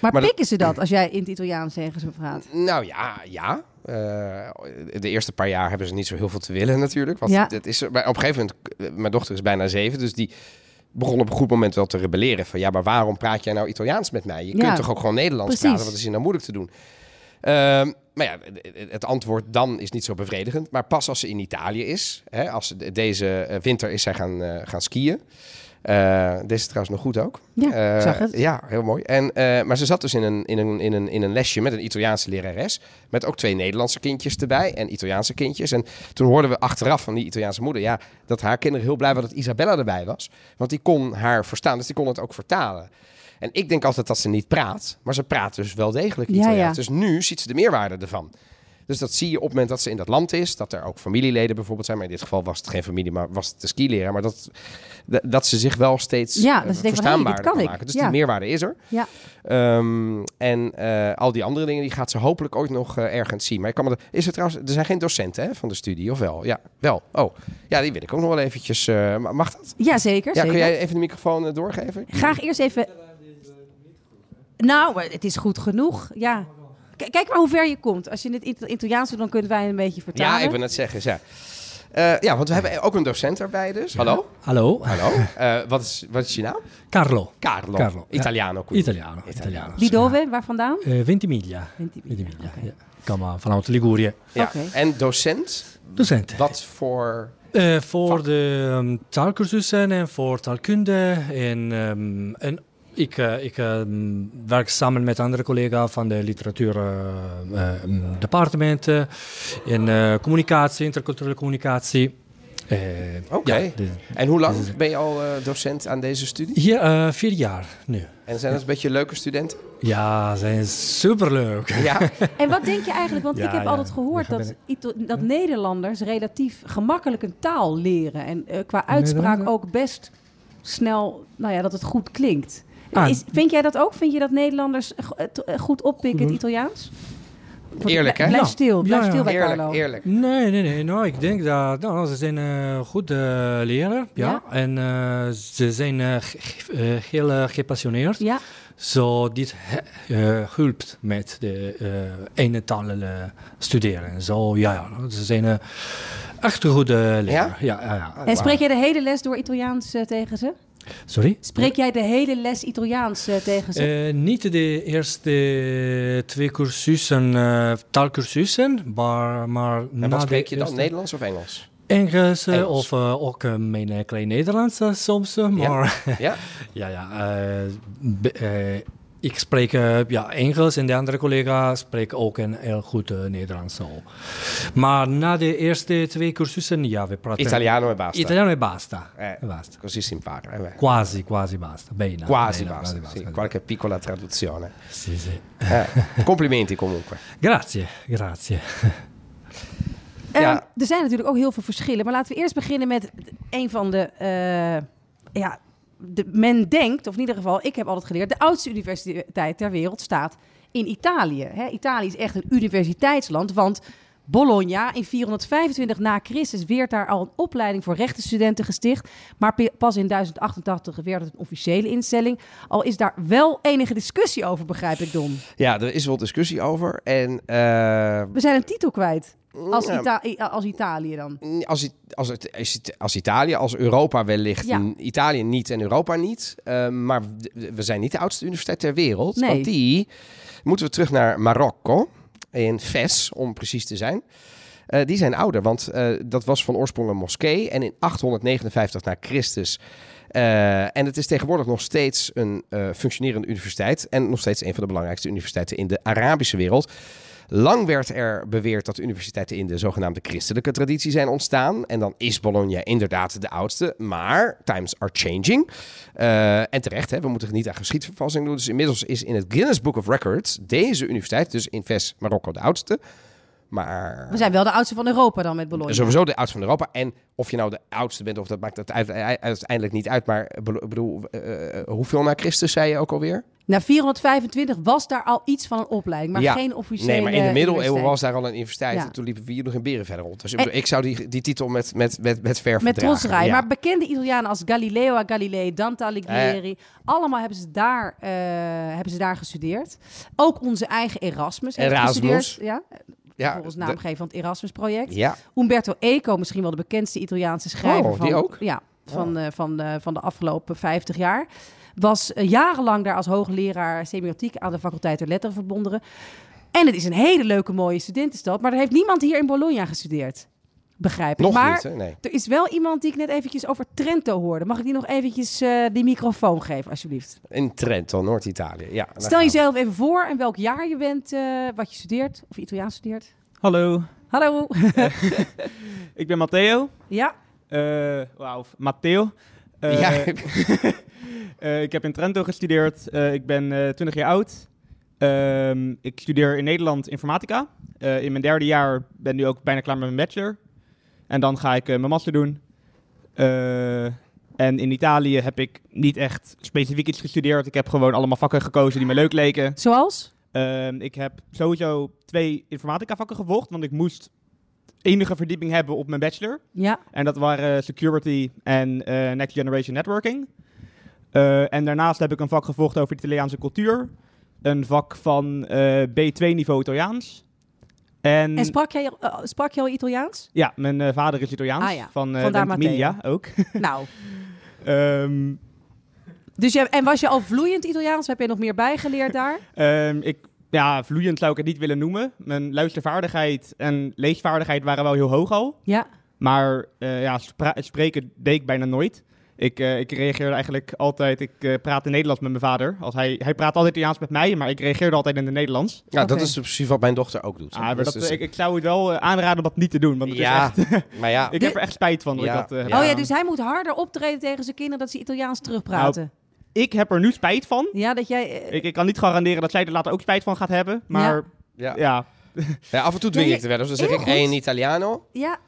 maar, Maar dat- pikken ze dat als jij in het Italiaans tegen ze praat? Nou ja, ja. Eh, de eerste paar jaar hebben ze niet zo heel veel te willen natuurlijk. Want Ja. dit is, maar op een gegeven moment, eh, mijn dochter is bijna zeven, dus die begon op een goed moment wel te rebelleren. Van ja, maar waarom praat jij nou Italiaans met mij? Je Ja. kunt toch ook gewoon Nederlands Precies. praten? Wat is hier nou moeilijk te doen? Ehm, maar ja, het antwoord dan is niet zo bevredigend. Maar pas als ze in Italië is, hè, als ze de- deze eh, winter is zij gaan, eh, gaan skiën. Eh, deze is trouwens nog goed ook. Ja, ik Eh, zag het. Ja, heel mooi. En, eh, maar ze zat dus in een, in, een, in, een, in een lesje met een Italiaanse lerares. Met ook twee Nederlandse kindjes erbij en Italiaanse kindjes. En toen hoorden we achteraf van die Italiaanse moeder... Ja, dat haar kinderen heel blij waren dat Isabella erbij was. Want die kon haar verstaan, dus die kon het ook vertalen. En ik denk altijd dat ze niet praat, maar ze praat dus wel degelijk Ja, Italiaans. ja. Dus nu ziet ze de meerwaarde ervan. Dus dat zie je op het moment dat ze in dat land is. Dat er ook familieleden bijvoorbeeld zijn. Maar in dit geval was het geen familie, maar was het de skileraar. Maar dat, dat- dat ze zich wel steeds Ja, eh, dat ze denkt van, hé, dit verstaanbaarder kan kan ik. maken. Dus Ja. die meerwaarde is er. Ja. Ehm, en eh, al die andere dingen, die gaat ze hopelijk ooit nog eh, ergens zien. Maar ik kan me er, is er trouwens, er zijn geen docenten hè, van de studie, of wel? Ja, wel. Oh, ja, die wil ik ook nog wel eventjes. eh, ma- mag dat? Ja, zeker. Ja, zeker. kun jij even de microfoon eh, doorgeven? Graag eerst even... Nou, eh, het is goed genoeg, ja. K- kijk maar hoe ver je komt. Als je het Ita- Italiaans doet, dan kunnen wij een beetje vertalen. Ja, ik wil net zeggen, ja. Eh, ja, want we hebben ook een docent daarbij dus. Hallo? Hallo, Hallo? Eh, wat, is, wat is je naam? Carlo. Carlo. Carlo, ja. Italiano. quindi. Italiano. Italiano. Italiano. Wie dove? Waar vandaan? Eh, Ventimiglia. Ventimiglia, Ventimiglia, oké. ja. Kom maar vanuit Ligurië. Ja. Oké. En docent? Docent. Wat voor... Eh, voor de ehm, taalkursussen en voor taalkunde. En, ehm, en ik, eh, ik ehm, werk samen met andere collega's van de eh, literatuurdepartement. in eh, communicatie, interculturele communicatie. Eh, Oké. ja, de- En hoe lang ben je al eh, docent aan deze studie? hier eh, vier jaar nu. En zijn dat een beetje leuke studenten? Ja, zijn superleuk. Ja. En wat denk je eigenlijk? Want Ja, ik heb ja. altijd gehoord Ja, dat, ben Ito- dat Nederlanders relatief gemakkelijk een taal leren. En eh, qua uitspraak Nederlander? ook best snel, nou ja, dat het goed klinkt. Ah. Is, vind jij dat ook? Vind je dat Nederlanders go- eh, t- eh, goed oppikken in het Italiaans? Eerlijk, hè? Blijf Ja. stil, blijf Ja, ja. stil bij Eerlijk, Carlo. eerlijk. Nee, nee, nee. Nou, ik denk dat nou, ze zijn eh goed eh, leraar. Ja. En eh, ze zijn eh, ge- ge- eh, heel eh, gepassioneerd. Ja, Zo, dit he- eh, hulpt met de eh ene taal eh, studeren. Zo, ja, ja. Ze zijn eh, echt een goede leraar. Ja? Ja, ja, en spreek jij de hele les door Italiaans eh, tegen ze? Sorry? Spreek jij de hele les Italiaans eh, tegen ze? Eh, niet de eerste eh, twee cursussen, eh, taalkursussen, maar, maar En na wat Nou, de spreek je dan? eerste- Nederlands of Engels? Engels, eh, of Engels. eh, ook eh, mijn eh, klein Nederlands eh, soms, eh, Ja. maar Ja? ja, ja. eh, be- eh, ik spreek eh, ja, Engels en de andere collega spreekt ook een heel goed eh, Nederlands. Zo. Maar na de eerste twee cursussen, ja, we praten... Italiano en basta. Italiano e basta. Eh. basta. Così si impara. eh, beh. Quasi, quasi basta. Bijna. Quasi bijna, basta. quasi Sì, qualche piccola traduzione. Sì, sì. Eh, complimenti comunque. Grazie, grazie. Ehm, Ja. Er zijn natuurlijk ook heel veel verschillen. Maar laten we eerst beginnen met een van de. eh, ja, de, men denkt, of in ieder geval, ik heb altijd geleerd. De oudste universiteit ter wereld staat in Italië. Hè, Italië is echt een universiteitsland. Want Bologna in 425 na Christus werd daar al een opleiding voor rechtenstudenten gesticht. Maar pe- pas in 1088 werd het een officiële instelling. Al is daar wel enige discussie over, begrijp ik, Don. Ja, er is wel discussie over. En eh, We zijn een titel kwijt. Als, ja, Ita- eh, als Italië dan. als, It- als, het- als It- als Italië, als Europa wellicht, Ja. n- Italië niet en Europa niet. Eh, maar d- we zijn niet de oudste universiteit ter wereld. Nee. Want die moeten we terug naar Marokko, in Fes om precies te zijn. Eh, die zijn ouder, want eh, dat was van oorsprong een moskee. En in 859 na Christus. eh, en het is tegenwoordig nog steeds een eh, functionerende universiteit. En nog steeds een van de belangrijkste universiteiten in de Arabische wereld. Lang werd er beweerd dat de universiteiten in de zogenaamde christelijke traditie zijn ontstaan. En dan is Bologna inderdaad de oudste. Maar times are changing. Eh, en terecht, hè, we moeten het niet aan geschiedvervalsing doen. Dus inmiddels is in het Guinness Book of Records deze universiteit, dus in Ves Marokko, de oudste. Maar We zijn wel de oudste van Europa dan met Bologna. Sowieso de oudste van Europa. En of je nou de oudste bent of dat maakt het uite- uiteindelijk niet uit. Maar ik bedoel, eh, eh, hoeveel na Christus zei je ook alweer? Na 425 was daar al iets van een opleiding, maar Ja. geen officiële. Nee, maar in de middeleeuwen universiteit. was daar al een universiteit. Ja. En toen liepen we hier nog in beren verder rond. Dus ik, En- bedoel, ik zou die, die titel met, met, met, met verf Met verdragen. Trosrij. Ja. Maar bekende Italianen als Galileo Galilei, Dante Alighieri. Eh. allemaal hebben ze, daar, eh, hebben ze daar gestudeerd. Ook onze eigen Erasmus. heeft Erasmus. gestudeerd, Ja, ja, volgens de- naamgeven van het Erasmus-project. Ja, Umberto Eco, misschien wel de bekendste Italiaanse schrijver. Oh, van, die ook? Oh. Ja, van, eh, van, eh, van de afgelopen 50 jaar. Was eh, jarenlang daar als hoogleraar semiotiek aan de faculteit der letteren verbonden. En het is een hele leuke, mooie studentenstad. Maar er heeft niemand hier in Bologna gestudeerd. Begrijp ik. nog maar niet, hè? Nee. er is wel iemand die ik net eventjes over Trento hoorde. Mag ik die nog eventjes eh, die microfoon geven, alsjeblieft? In Trento, Noord-Italië. Ja, daar Stel gaan we. jezelf even voor en welk jaar je bent, eh, wat je studeert. Of je Italiaans studeert. Hallo, Hallo. ik ben Matteo. ja, Eh, Wauw, Matteo. Eh, Ja. eh, ik heb in Trento gestudeerd. Eh, ik ben eh 20 jaar oud. Ehm, ik studeer in Nederland informatica. Eh, in mijn derde jaar ben nu ook bijna klaar met mijn bachelor. En dan ga ik eh, mijn master doen. Eh, en in Italië heb ik niet echt specifiek iets gestudeerd. Ik heb gewoon allemaal vakken gekozen die me leuk leken. zoals? Ehm, ik heb sowieso twee informatica vakken gevolgd, want ik moest enige verdieping hebben op mijn bachelor. Ja. En dat waren security en eh, next generation networking. Eh, en daarnaast heb ik een vak gevolgd over Italiaanse cultuur. een vak van eh, B2-niveau Italiaans. En, En sprak jij, eh, sprak jij al Italiaans? ja, mijn eh, vader is Italiaans. Ah ja, Van eh vandaar Ventimiglia ook. nou, Ehm, dus jij, en was je al vloeiend Italiaans? Heb je nog meer bijgeleerd daar? ehm, ik, ja, vloeiend zou ik het niet willen noemen. Mijn luistervaardigheid en leesvaardigheid waren wel heel hoog al. Ja. Maar eh, ja, spra- spreken deed ik bijna nooit. Ik, eh, ik reageerde eigenlijk altijd... Ik eh praatte Nederlands met mijn vader. Als hij, hij praat altijd Italiaans met mij, maar ik reageerde altijd in het Nederlands. Ja, dat Oké. is precies wat mijn dochter ook doet. Ah, maar Dus- dat, dus- ik, ik zou het wel eh, aanraden om dat niet te doen. Want het is ja, echt- maar ja. ik De- heb er echt spijt van. Dat Ja. ik, dat, eh, Ja. Oh ja, dus hij moet harder optreden tegen zijn kinderen dat ze Italiaans terugpraten. Nou, ik heb er nu spijt van. ja, dat jij... eh, Ik, ik kan niet garanderen dat zij er later ook spijt van gaat hebben. Maar Ja. ja, ja, Ja, af en toe dwing Nee, ik het wel. Dus dan zeg heel ik goed. één Italiano. ja.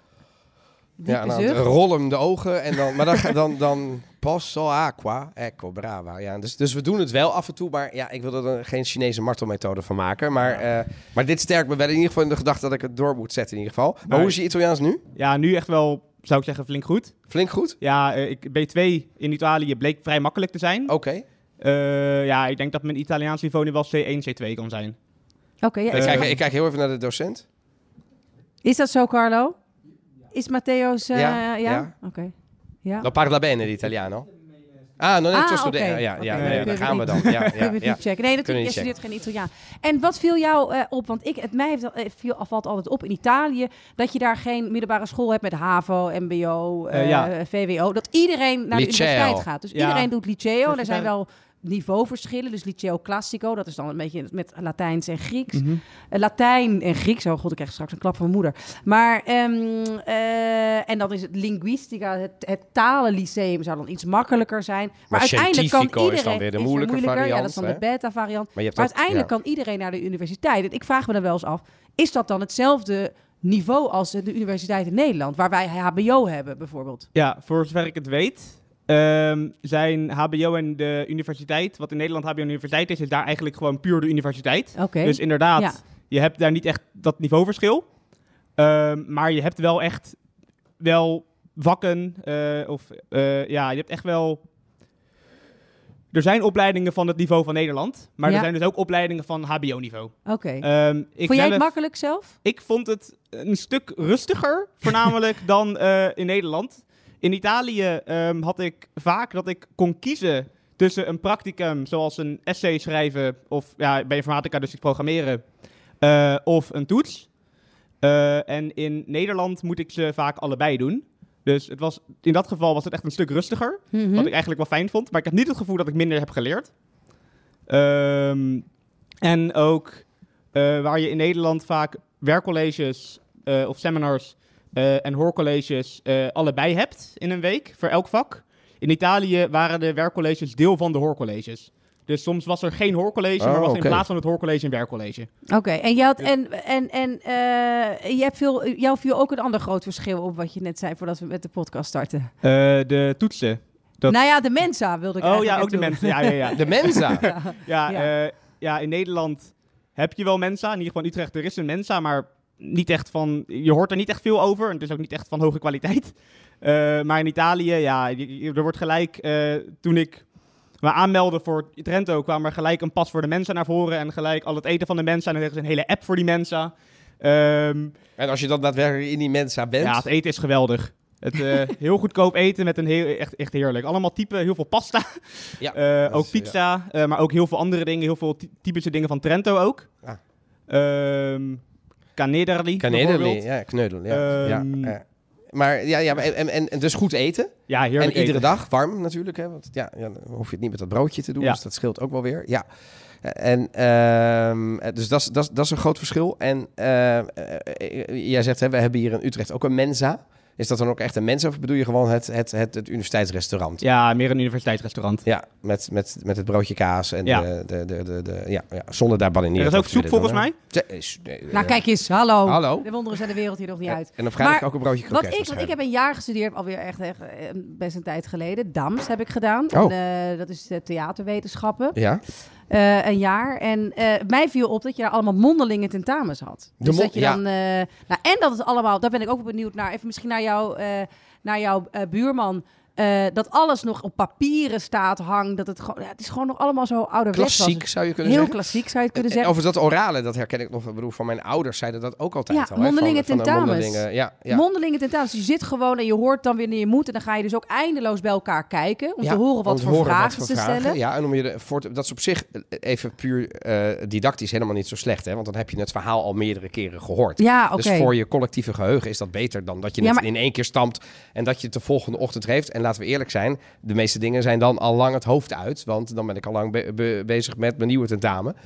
Diepe Ja, nou, zucht. rol hem de ogen. En dan, maar dan, dan, dan passo acqua, ecco, brava. Ja, dus, dus we doen het wel af en toe. Maar ja, ik wil er dan geen Chinese martelmethode van maken. Maar, eh, maar dit sterkt me wel in ieder geval in de gedachte dat ik het door moet zetten in ieder geval. Maar Maar- hoe is je Italiaans nu? nu echt wel, zou ik zeggen, flink goed. Flink goed? Ja, eh, ik, B2 in Italië bleek vrij makkelijk te zijn. Oké. Eh, ja, ik denk dat mijn Italiaans niveau nu wel C1, C2 kan zijn. Oké, ja, ik, Eh, kijk, ik kijk heel even naar de docent. is dat zo, Carlo? Is Matthäus... eh, Ja, ja, ja. Oké. Ja. Dan parla bene l'italiano. Ah, non è Ah, giusto de- oké. Ja, ja, ja, Oké. nee, daar Kunnen gaan we we dan. niet- Ja, ja, Kunnen we het ja. niet checken. Nee, natuurlijk, Kunnen we je niet studeert geen Italiaan. En wat viel jou eh, op? Want ik, het mij heeft, eh, viel, valt altijd op in Italië... dat je daar geen middelbare school hebt met HAVO, MBO, eh, Eh, ja. VWO. Dat iedereen naar de Liceo. universiteit gaat. Dus Ja. iedereen doet liceo. Dat Er is zijn daar- wel niveauverschillen. Dus liceo classico, dat is dan een beetje met Latijns en Grieks. Mhm. Eh, Latijn en Grieks. Oh god, ik krijg straks een klap van mijn moeder. Maar, ehm, eh, en dan is het linguistica, het, het talenlyceum zou dan iets makkelijker zijn. Maar, Maar uiteindelijk kan scientifico is iedereen... dan weer de moeilijke Ja, dat is dan de variant, beta-variant. Maar, je hebt Maar ook- uiteindelijk ja. kan iedereen naar de universiteit. En ik vraag me dan wel eens af, is dat dan hetzelfde niveau als de universiteit in Nederland? Waar wij HBO hebben bijvoorbeeld. Ja, voor zover ik het weet, ehm, zijn HBO en de universiteit, wat in Nederland HBO en universiteit is, is daar eigenlijk gewoon puur de universiteit. Oké. Dus inderdaad, Ja. je hebt daar niet echt dat niveauverschil. Ehm, maar je hebt wel echt wel vakken. eh, of eh, ja, je hebt echt wel. Er zijn opleidingen van het niveau van Nederland. Maar Ja. er zijn dus ook opleidingen van HBO-niveau. Oké. Eh, Ehm ik Vond jij zelf- het makkelijk zelf? ik vond het een stuk rustiger, voornamelijk dan eh, in Nederland. In Italië ehm, had ik vaak dat ik kon kiezen tussen een practicum, zoals een essay schrijven, of ja, bij informatica dus iets programmeren, eh, of een toets. Eh, en in Nederland moet ik ze vaak allebei doen. Dus het was, in dat geval was het echt een stuk rustiger. Mhm. Wat ik eigenlijk wel fijn vond. Maar ik heb niet het gevoel dat ik minder heb geleerd. Ehm, en ook eh, waar je in Nederland vaak werkcolleges eh, of seminars eh, en hoorcolleges eh, allebei hebt in een week voor elk vak. In Italië waren de werkcolleges deel van de hoorcolleges. Dus soms was er geen hoorcollege, Oh, maar was oké. in plaats van het hoorcollege een werkcollege. Oké, en, jij had, en, en, en eh, je hebt veel, jou viel ook een ander groot verschil op wat je net zei voordat we met de podcast starten. Eh, de toetsen. Dat- Nou ja, de Mensa wilde ik Oh eigenlijk ja, ook de naartoe. mensen. Ja, ja, ja. De Mensa. Ja, Ja. ja. ja, in Nederland heb je wel Mensa. In ieder geval in Utrecht, er is een Mensa, maar niet echt van, je hoort er niet echt veel over. En het is ook niet echt van hoge kwaliteit. Eh, maar in Italië, ja, je- je- er wordt gelijk, eh, toen ik me aanmeldde voor Trento, kwam er gelijk een pas voor de Mensa naar voren. En gelijk al het eten van de Mensa. En er is een hele app voor die Mensa. Ehm, En als je dan daadwerkelijk in die Mensa bent... ja, het eten is geweldig. Het, eh, heel goedkoop eten met een heel, echt, echt heerlijk. Allemaal typen, heel veel pasta. Ja, Eh, dat ook is, eh, pizza, eh, maar ook heel veel andere dingen. Heel veel ty- typische dingen van Trento ook. Ah. Ehm Canederli Kanederli, bijvoorbeeld. ja, kneudel. Ja. Ehm, ja, ja. Eh, Maar ja, ja maar en, en, en dus goed eten. Ja, Ah, heerlijk en iedere eten. dag warm natuurlijk. Hè, want ja, ja, dan hoef je het niet met dat broodje te doen. Ja. Dus dat scheelt ook wel weer. Ja. En ehm, dus dat is- dat is- dat is een groot verschil. En eh, eh, eh, jij zegt, hè, we hebben hier in Utrecht ook een Mensa. Is dat dan ook echt een Mensa of bedoel je gewoon het, het, het, het universiteitsrestaurant? Ja, meer een universiteitsrestaurant. Ja, met, met, met het broodje kaas en Ja. de, de, de, de, de- ja, ja, zonder daar Er bananeer. is ook soep volgens mij. Nou kijk eens, hallo. Hallo. De wonderen zijn de wereld hier nog niet uit. En op vrijdag Maar ook een broodje Wat kroket. ik, want ik waarschijnlijk. heb een jaar gestudeerd, alweer echt, echt eh, best een tijd geleden. DAMS heb ik gedaan. Oh. En, eh, dat is eh, theaterwetenschappen. Ja? Eh, een jaar. En eh, mij viel op dat je daar allemaal mondelinge tentamens had. De dus mon- dat je ja. dan, eh, nou, en dat het allemaal, daar ben ik ook wel benieuwd naar. Even misschien naar, jou, eh, naar jouw eh, buurman. eh, dat alles nog op papieren staat, hangt. Dat het, gewoon, ja, het is gewoon nog allemaal zo ouderwets. was het. Klassiek zou je Heel kunnen zeggen. klassiek zou je het kunnen Eh, eh, zeggen. Overigens dat orale, dat herken ik nog. Ik bedoel, van mijn ouders zeiden dat ook altijd Ja, al. hè, mondelinge van, van de tentamens. mondelinge- ja, ja. Mondelingen tentamens. Dus Je zit gewoon en je hoort dan wanneer je moet. En dan ga je dus ook eindeloos bij elkaar kijken. Om Ja, te horen om wat te voor horen wat vragen voor ze vragen. stellen. Ja, en om je de- voor te- dat is op zich eh, even puur eh, didactisch helemaal niet zo slecht. Hè? Want dan heb je het verhaal al meerdere keren gehoord. Ja, oké. Dus voor je collectieve geheugen is dat beter dan dat je Ja, het maar- in één keer stampt en dat je het de volgende ochtend heeft. En laten we eerlijk zijn, de meeste dingen zijn dan al lang het hoofd uit. Want dan ben ik al lang be- be- bezig met mijn nieuwe tentamen.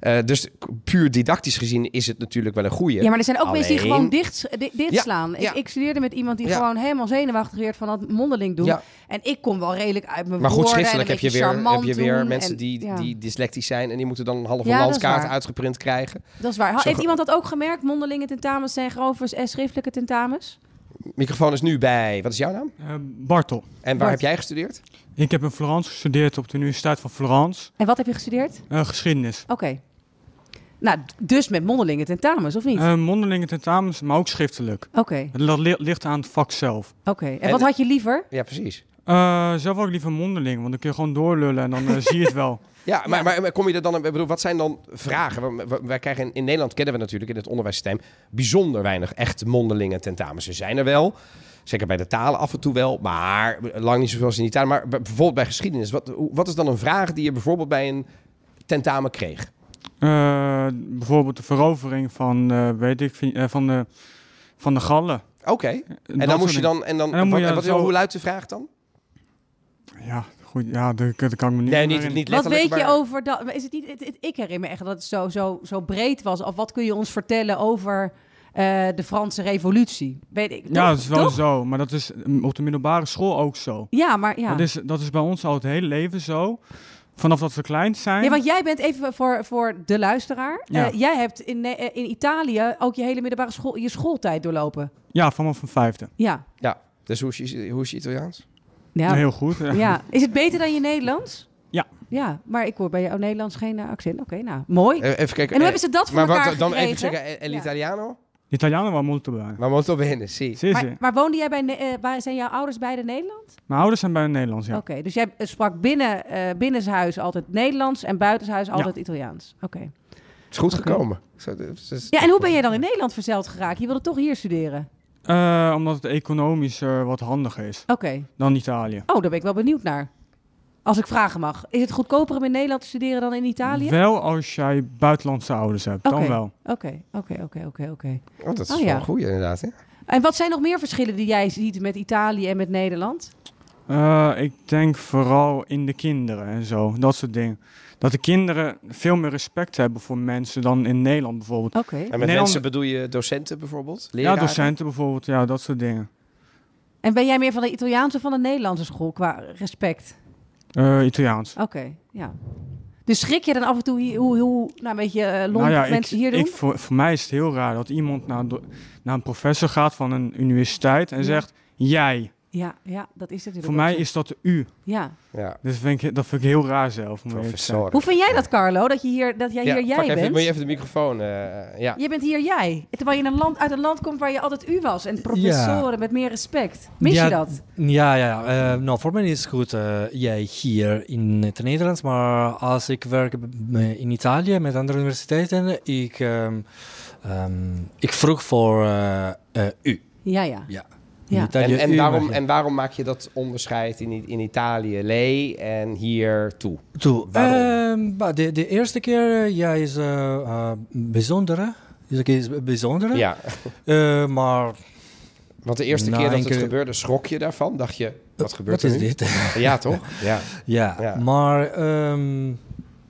Eh, dus k- puur didactisch gezien is het natuurlijk wel een goeie. Ja, maar er zijn ook mensen die Alleen- gewoon dicht, di- dicht Ja, slaan. Ik, ja. ik studeerde met iemand die Ja. gewoon helemaal zenuwachtig werd van dat mondeling doen. Ja. En ik kom wel redelijk uit mijn Maar goed, woorden en schriftelijk een heb je beetje weer, heb charmant je weer doen mensen en- die, ja, die dyslectisch zijn. En die moeten dan een halve Ja, dat is landkaart waar. uitgeprint krijgen. Dat is waar. Ha- Zo Heeft ge- iemand dat ook gemerkt? Mondelinge tentamens zijn grovers en schriftelijke tentamens? Microfoon is nu bij, wat is jouw naam? Eh, Bartel. En waar Bart. heb jij gestudeerd? Ik heb in Florence gestudeerd op de Universiteit van Florence. En wat heb je gestudeerd? Eh, geschiedenis. Oké. Nou, d- dus met mondelinge tentamens, of niet? Eh mondelinge tentamens, maar ook schriftelijk. Oké, Dat li- ligt aan het vak zelf. oké. En wat En- had je liever? Ja, precies. Eh, zelf ook liever mondeling, want dan kun je gewoon doorlullen en dan eh, zie je het wel. Ja, maar, maar, maar kom je er dan... Ik bedoel, wat zijn dan vragen? We- we- Wij krijgen in, in Nederland kennen we natuurlijk in het onderwijssysteem... bijzonder weinig echt mondelinge tentamens. Ze zijn er wel, zeker bij de talen af en toe wel... maar lang niet zoveel als in Italië. Maar bij- bijvoorbeeld bij geschiedenis. Wat, hoe- wat is dan een vraag die je bijvoorbeeld bij een tentamen kreeg? Eh, bijvoorbeeld de verovering van, eh, weet ik, vi- eh, van, de, van de Gallen. Eh, Oké, en dan soort moest je dingen. dan... En dan, En dan moet wat, je wat- zo- Hoe luidt de vraag dan? Ja, goed, ja, dat, dat kan ik me niet Nee, meer niet, niet Wat letterlijk, weet je maar- over dat? Is het niet, het- het- ik herinner me echt dat het zo, zo, zo breed was. Of wat kun je ons vertellen over eh, de Franse revolutie? Weet ik, Ja, toch? dat is wel Toch? zo, maar dat is mm, op de middelbare school ook zo. Ja, maar ja. Dat, is, dat is bij ons al het hele leven zo. Vanaf dat we klein zijn. Ja, want jij bent even voor, voor de luisteraar. Ja. Eh, jij hebt in, Ne- eh, in Italië ook je hele middelbare school, je schooltijd doorlopen. Ja, vanaf een vijfde. Ja. Dus hoe is je, hoe is je Italiaans? Ja. Heel goed. ja. Is het beter dan je Nederlands? Ja. Ja, maar ik hoor bij jouw Nederlands geen eh, accent. Oké, nou, mooi. Eh, Even kijken. en hoe eh, hebben ze dat voor maar elkaar wat, dan even gekregen? zeggen, eh, el Ja. Italiano? Italiano was molto bene. Maar molto bene, sì. Sì, Maar, sì. maar woonde jij bij, Ne- eh, waar zijn jouw ouders bij de Nederland? Mijn ouders zijn bij Nederlands, ja. Oké, dus jij eh, sprak binnen, eh binnenshuis altijd Nederlands en buitenshuis altijd Italiaans. Oké. Het is goed Oké. gekomen. Zo, dus- dus- Ja, en hoe ben jij dan in Nederland verzeld geraakt? Je wilde toch hier studeren? Eh, omdat het economisch eh, wat handiger is Oké. dan Italië. Oh, daar ben ik wel benieuwd naar. Als ik vragen mag. Is het goedkoper om in Nederland te studeren dan in Italië? Oké, Wel als jij buitenlandse ouders hebt, Oké. dan wel. oké, oké, oké, oké. Oh, dat is Oh, wel ja. een goeie inderdaad. Hè? En wat zijn nog meer verschillen die jij ziet met Italië en met Nederland? Eh, ik denk vooral in de kinderen en zo, dat soort dingen. Dat de kinderen veel meer respect hebben voor mensen dan in Nederland bijvoorbeeld. Oké. En met Nee, mensen om- bedoel je docenten bijvoorbeeld? Leraren? Ja, docenten bijvoorbeeld, ja, dat soort dingen. En ben jij meer van de Italiaanse of van de Nederlandse school qua respect? Eh, Italiaans. Oké, ja. Dus schrik je dan af en toe hier- hoe, hoe nou, een beetje eh lomp ja, mensen ik, hier doen? Ik, voor, voor mij is het heel raar dat iemand naar, een do- naar een professor gaat van een universiteit en Ja. zegt, jij. Ja, ja, dat is natuurlijk Voor ook mij zo. is dat de u. Ja. Ja, Dus vind ik, dat vind ik heel raar zelf. moet ik eerlijk zeggen. professoren. Hoe vind jij dat, Carlo? Dat, je hier, dat jij Ja, hier pak jij Even, bent? moet je even de microfoon... eh, ja. Je bent hier jij. Terwijl je in een land, uit een land komt waar je altijd u was. En professoren met meer respect. Mis Ja, je dat? Ja, ja, ja. Eh, nou, voor mij is het goed. eh, jij hier in het Nederlands, maar als ik werk b- m- in Italië met andere universiteiten, ik, ehm, ehm, ik vroeg voor eh, eh, u. Ja, ja. Ja. Ja. In Italië En, en, u, waarom, maar- en waarom maak je dat onderscheid in, I- in Italië lee en hier toe? Toe. Waarom? Ehm, maar de, de eerste keer, eh, ja, is eh, eh, bijzonder. hè? Is oké, is bijzonder. Ja, Eh, maar want de eerste Nou, keer dat één het keer- gebeurde, schrok je daarvan? Dacht je, wat gebeurt wat er is nu? dit? Ja, toch? Ja. Ja, Ja. maar ehm,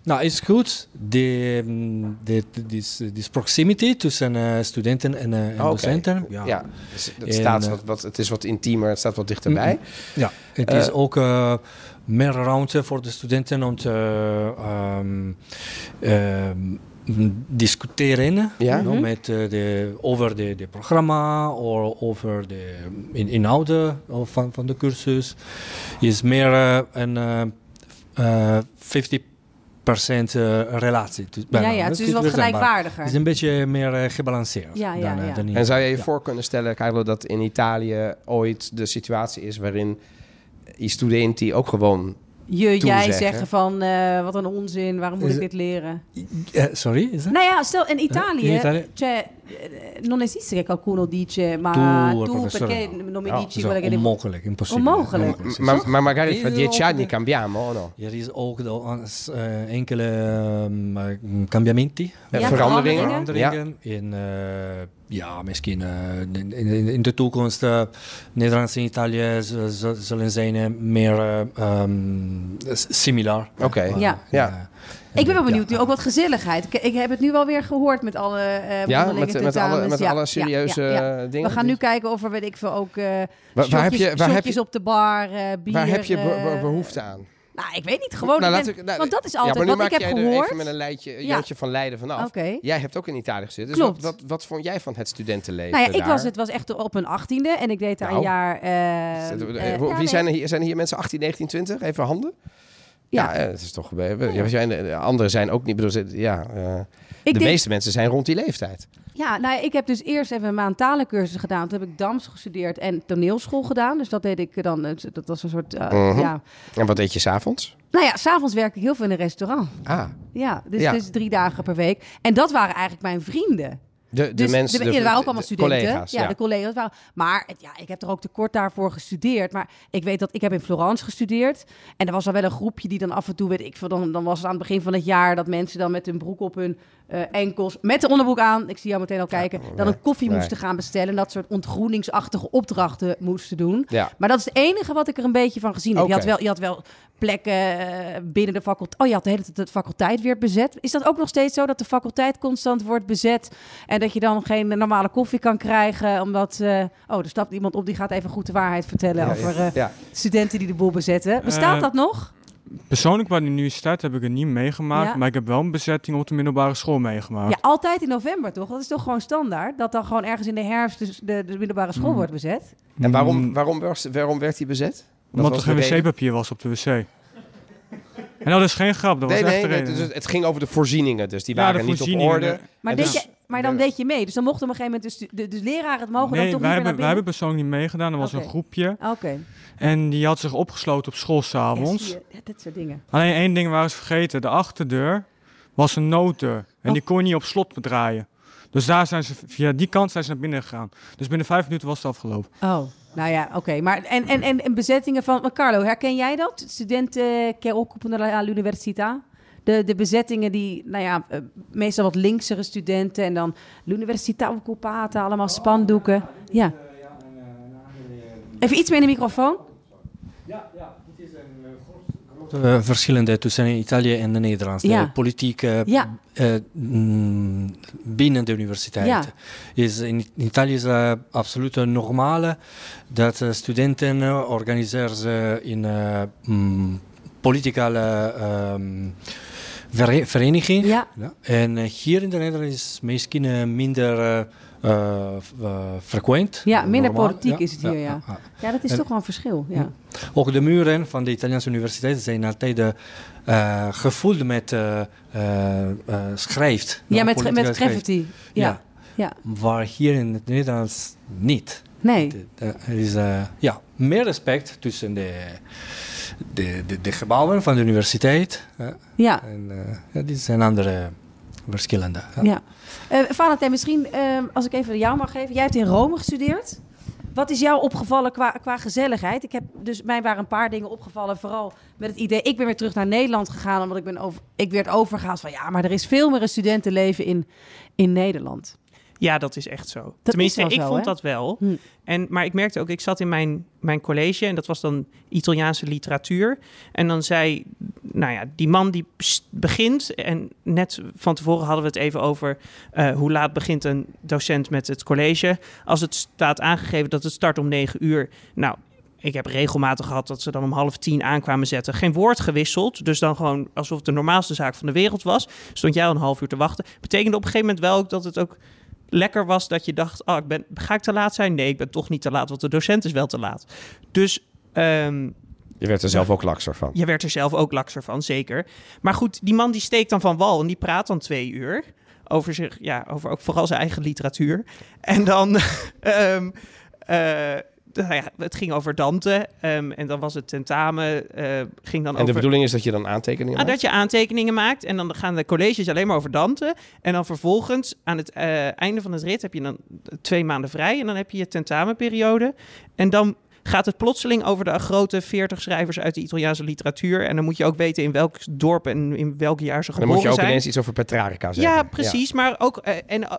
nou is goed. De, mm, de, de, dis- dis proximity tussen eh, studenten en, eh, en Ah, Oké. docenten. Ja, Ja. Dus het, En, staat eh, wat, wat, het is wat intiemer, het staat wat dichterbij. Het Eh, is ook eh, meer ruimte voor de studenten om te ehm, ehm, mm, discussiëren Ja. Mm-hmm. no, Mhm. met, eh, de, over de, de programma of over de in, inhouden of van, van de cursus. Is meer eh, een eh, eh, 50% eh, relatie. tu- Ja, bijna. ja. Het Dat is dus wat rekenbaar. gelijkwaardiger. Het is een beetje meer eh, gebalanceerd Ja, ja, dan, eh, ja. dan in- En zou je je Ja. voor kunnen stellen, Carlo, dat in Italië ooit de situatie is waarin i studenti ook gewoon... Je, jij Toezeggen. zeggen van, eh, wat een onzin, waarom moet Is ik het- dit leren? Eh, sorry, is dat? Nou ja, stel in Italië, in Italië? Cioè, eh, non esiste che qualcuno dice, ma Tu, tu, professore, Oh, perché no. non mi No, dici Zo, quello che devo... onmogelijk, impossibile. Onmogelijk. M- Maar, maar magari fra Is er dieci ook- anni cambiamo, o no? Er is ook de, ons, eh, enkele ehm, eh, cambiamenti, Ja, Ja, veranderingen. veranderingen. veranderingen. In, eh, ja, misschien eh, in, in- in de toekomst eh Nederlands en Italië z- z- zullen zijn eh, meer eh, ehm, s- similar. Oké. Eh, Ja. Ja. eh, Ik ben wel ja. benieuwd nu, ook wat gezelligheid. Ik, ik heb het nu wel weer gehoord met alle eh Ja, mondelinge met, met, alle, tentamens. met Ja, ja, alle ja, serieuze ja. eh, dingen. We gaan nu kijken of er, weet ik veel, ook eh waar shotjes- heb je- waar heb shotjes je- op de bar, eh bier. Waar heb je be- eh, be- behoefte aan? Nou, ik weet niet. Gewoon, Nou, ik laat ben- ik- nou, want dat is ja, maar altijd nu wat maak ik heb jij er gehoord. even met een lijntje, Ja. Jantje van Leiden vanaf. Oké. Jij hebt ook in Italië gezeten. Dus Klopt. wat, wat, wat vond jij van het studentenleven Nou ja, ik daar? was, het was echt op mijn achttiende en ik deed daar Nou. een jaar... eh, Zet- eh, eh, ja, Wie nee. zijn, er hier, zijn er hier mensen 18, 19, 20? Even handen. Ja, Ja. eh, het is toch... we- we- Ja, we zijn, de anderen zijn ook niet... Bedoel, ze- ja, eh, Ik de denk- meeste mensen zijn rond die leeftijd. Ja, nou, ja, ik heb dus eerst even een maand talencursus gedaan. Toen heb ik dans gestudeerd en toneelschool gedaan. Dus dat deed ik dan. eh, Dat was een soort. eh, Mhm. ja. En wat deed je s'avonds? Nou ja, s'avonds werk ik heel veel in een restaurant. Ah, Ja, dus, Ja. dus drie dagen per week. En dat waren eigenlijk mijn vrienden. de, de dus mensen... de, ja, er waren ook allemaal de studenten. Collega's, ja, ja. de collega's waren. Maar het- ja, ik heb er ook te kort daarvoor gestudeerd. Maar ik weet dat ik heb in Florence gestudeerd. En er was al wel een groepje die dan af en toe, weet ik veel, dan, dan was het aan het begin van het jaar dat mensen dan met hun broek op hun eh, enkels, met de onderbroek aan, ik zie jou meteen al kijken, dan een koffie nee. moesten gaan bestellen. En dat soort ontgroeningsachtige opdrachten moesten doen. Ja. Maar dat is het enige wat ik er een beetje van gezien heb. Oké. Je, had wel, je had wel plekken eh, binnen de faculteit. Oh, je had de hele tijd de faculteit weer bezet. Is dat ook nog steeds zo dat de faculteit constant wordt bezet en dat je dan geen normale koffie kan krijgen? Omdat, eh, oh, er stapt iemand op die gaat even goed de waarheid vertellen over eh, Ja. studenten die de boel bezetten. Bestaat Eh, dat nog? Persoonlijk waar die nu staat heb ik het niet meegemaakt, Ja. maar ik heb wel een bezetting op de middelbare school meegemaakt. Ja, altijd in november toch? Dat is toch gewoon standaard? Dat dan gewoon ergens in de herfst dus de, de middelbare school wordt bezet? En waarom, Mm, waarom, was, waarom werd die bezet? Wat Omdat was er geen de reden? wc-papier was op de wc. En dat is geen grap, dat Nee, was echt nee, de nee, reden. dus het ging over de voorzieningen. Dus die Ja, waren de niet op voorzieningen. orde. Maar, En deed dus- je, maar dan ja. deed je mee. Dus dan mochten op een gegeven moment dus, de, de, leraren het mogen dan nee, wij toch niet meer hebben, wij naar hebben binnen? persoonlijk niet meegedaan. Er was Oké. een groepje Oké. en die had zich opgesloten op school Ja, s'avonds. zie je. dat soort dingen. Alleen één ding waren ze vergeten. De achterdeur was een nooddeur. En Oh. die kon je niet op slot bedraaien. Dus daar zijn ze, via die kant zijn ze naar binnen gegaan. Dus binnen vijf minuten was het afgelopen. Oh, nou ja, oké. Maar en, en, en, en bezettingen van... maar Carlo, herken jij dat? Studenten eh, che occupano la l'università? De, de bezettingen die, nou ja, eh, meestal wat linksere studenten... en dan l'università occupata, allemaal spandoeken. Ja. Even iets meer in de microfoon. Eh, verschillende tussen Italië en Nederland. Ja. De politiek eh, Ja. eh, mm, binnen de universiteit. Ja. Is in Italië is eh, absoluut een normale dat eh, studenten eh, organiseren ze in eh mm, politicale ehm, vere- vereniging. Ja. En eh, hier in de Nederland is misschien eh, minder eh, eh, f- eh, frequent. Ja, minder Normaal. politiek is het hier, ja. Ja, dat is En- toch wel een verschil. Ja. Mm. Ook de muren van de Italiaanse universiteiten zijn altijd eh, eh, gevuld met eh eh, eh, schrijft. Nou, Ja, met, Politieke met schrijft. graffiti. Ja. Ja. Waar hier in het Nederlands niet. Nee. De- de- Er is eh, ja, meer respect tussen de, de, de, de gebouwen van de universiteit. eh, Ja. en eh, ja, die zijn andere verschillende. ja. Ja. Eh Valentijn, misschien ehm, als ik even jou mag geven. Jij hebt in Rome gestudeerd. Wat is jou opgevallen qua, qua gezelligheid? Ik heb, dus mij waren een paar dingen opgevallen. Vooral met het idee, ik ben weer terug naar Nederland gegaan. Omdat ik, ben over, ik werd overgehaald van, ja, maar er is veel meer een studentenleven in, in Nederland. Ja, dat is echt zo. is Tenminste, wel ik zo, vond hè? dat wel. Hm. En, maar ik merkte ook, ik zat in mijn, mijn college en dat was dan Italiaanse literatuur. En dan zei, nou ja, die man die pst- begint. En net van tevoren hadden we het even over eh, hoe laat begint een docent met het college. Als het staat aangegeven dat het start om negen uur. Nou. Ik heb regelmatig gehad dat ze dan om half tien aankwamen zetten. Geen woord gewisseld. Dus dan gewoon alsof het de normaalste zaak van de wereld was. Stond jij al een half uur te wachten. Betekende op een gegeven moment wel ook dat het ook lekker was dat je dacht: oh, ik ben, ga ik te laat zijn? Nee, ik ben toch niet te laat, want de docent is wel te laat. Dus ehm, Je werd er zelf ook lakser van. je werd er zelf ook lakser van, zeker. Maar goed, die man die steekt dan van wal en die praat dan twee uur over zich, ja, over ook vooral zijn eigen literatuur. En dan, ehm, eh, nou ja, het ging over Dante. ehm, en dan was het tentamen. eh, ging dan En de over bedoeling is dat je dan aantekeningen Ah, maakt? dat je aantekeningen maakt en dan gaan de colleges alleen maar over Dante. En dan vervolgens aan het eh, einde van het rit heb je dan twee maanden vrij en dan heb je je tentamenperiode. En dan gaat het plotseling over de grote 40 schrijvers uit de Italiaanse literatuur. En dan moet je ook weten in welk dorp en in welk jaar ze Dan geboren moet je ook zijn. ineens iets over Petrarca zeggen. Ja, precies. Maar ook eh, en eh,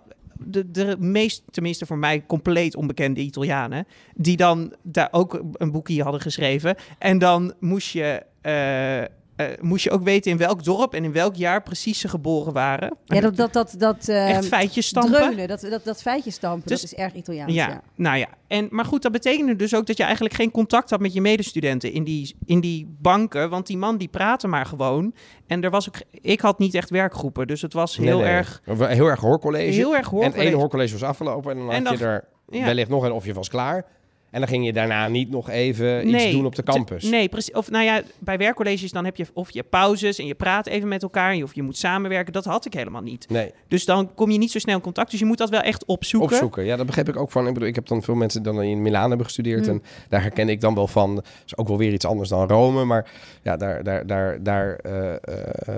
de, de meest, tenminste voor mij, compleet onbekende Italianen. Die dan daar ook een boekje hadden geschreven. En dan moest je. eh, eh, moest je ook weten in welk dorp en in welk jaar precies ze geboren waren. Ja, dat, dat, dat, dat eh, Echt feitjes stampen. dreunen, dat, dat, dat feitje stampen, Dus- dat is erg Italiaans. Ja, ja. nou ja. En, maar goed, dat betekende dus ook dat je eigenlijk geen contact had met je medestudenten in die, in die banken. Want die man die praatte maar gewoon. En er was ook, ik had niet echt werkgroepen. Dus het was Nee, heel nee. erg, Heel erg hoorcollege. heel erg hoor. En het ene hoorcollege was afgelopen en dan En had je dan- er ja. wellicht nog een of je was klaar. En dan ging je daarna niet nog even Nee, iets doen op de te- campus. nee, precies. Of nou ja, bij werkcolleges dan heb je of je pauzes en je praat even met elkaar en je- of je moet samenwerken. Dat had ik helemaal niet. nee. Dus dan kom je niet zo snel in contact. Dus je moet dat wel echt opzoeken. Opzoeken. Ja, dat begreep ik ook van. Ik bedoel, ik heb dan veel mensen dan in Milaan hebben gestudeerd. Mm. En daar herken ik dan wel van. Dat is ook wel weer iets anders dan Rome. Maar ja, daar, daar, daar, daar, eh, eh,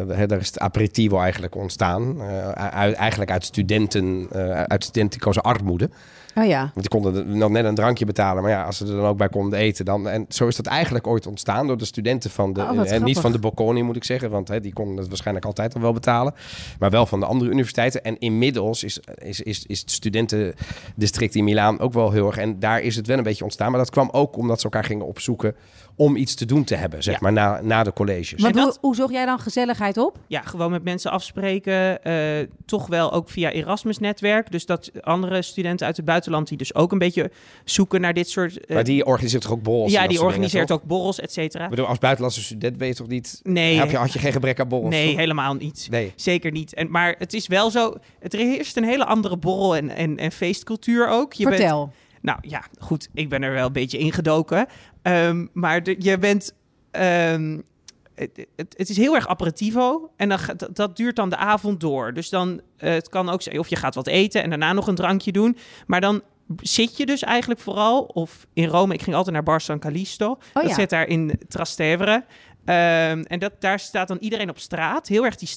hè, daar is het aperitivo eigenlijk ontstaan. Eh, uit, eigenlijk uit studenten, eh uit studentico's armoede. Oh ja. Want die konden er nog net een drankje betalen. Maar ja, als ze er dan ook bij konden eten. Dan, en zo is dat eigenlijk ooit ontstaan door de studenten van de. Oh, en wat niet grappig. van de Bocconi moet ik zeggen. Want hè, die konden het waarschijnlijk altijd al wel betalen. Maar wel van de andere universiteiten. En inmiddels is, is, is, is het studentendistrict in Milaan ook wel heel erg. En daar is het wel een beetje ontstaan. Maar dat kwam ook omdat ze elkaar gingen opzoeken. om iets te doen te hebben, zeg Ja. maar, na, na de colleges. Maar En hoe, dat- hoe zocht jij dan gezelligheid op? Ja, gewoon met mensen afspreken. eh, toch wel ook via Erasmus-netwerk. Dus dat andere studenten uit het buitenland die dus ook een beetje zoeken naar dit soort... eh, maar die organiseert toch ook borrels? en ja, dat die soort dingen, organiseert toch? ook borrels, et cetera. Ik bedoel, als buitenlandse student ben je toch niet. Nee, Heb je, had je geen gebrek aan borrels? nee toch? helemaal niet. Nee. Zeker niet. En, maar het is wel zo... Het er heerst een hele andere borrel- en, en, en feestcultuur ook. Je bent- Vertel. Nou ja, goed, ik ben er wel een beetje ingedoken. Ehm maar de- je bent. ehm, het, het, het is heel erg aperitivo en dan, gaat- dat- dat duurt dan de avond door. Dus dan, eh, het kan ook zijn, of je gaat wat eten en daarna nog een drankje doen. Maar dan zit je dus eigenlijk vooral, of in Rome, ik ging altijd naar Bar San Callisto. Oh dat ja. zit daar in Trastevere. Ehm, en dat, daar staat dan iedereen op straat. Heel erg die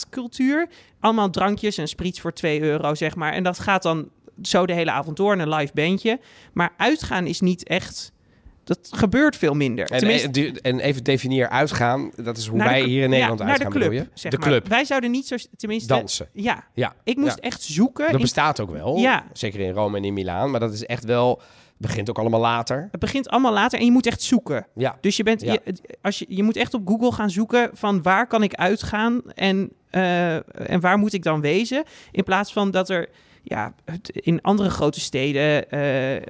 straatcultuur. Allemaal drankjes en spriets voor 2 euro, zeg maar. En dat gaat dan zo de hele avond door en een live bandje. Maar uitgaan is niet echt... Dat gebeurt veel minder. En, Tenminste- e- du- en even definieer uitgaan. Dat is hoe naar de wij cl- hier in Nederland ja, naar uitgaan, de club, bedoel je? zeg de maar. club. Wij zouden niet zo... Tenminste, Dansen. ja. Ja, Ik moest Ja. echt zoeken. dat in- bestaat ook wel. Ja. Zeker in Rome en in Milaan. Maar dat is echt wel... begint ook allemaal later. het begint allemaal later en je moet echt zoeken. Ja. Dus je, bent, Ja. je, als je, je moet echt op Google gaan zoeken van waar kan ik uitgaan en, eh, en waar moet ik dan wezen. In plaats van dat er ja, het- in andere grote steden eh,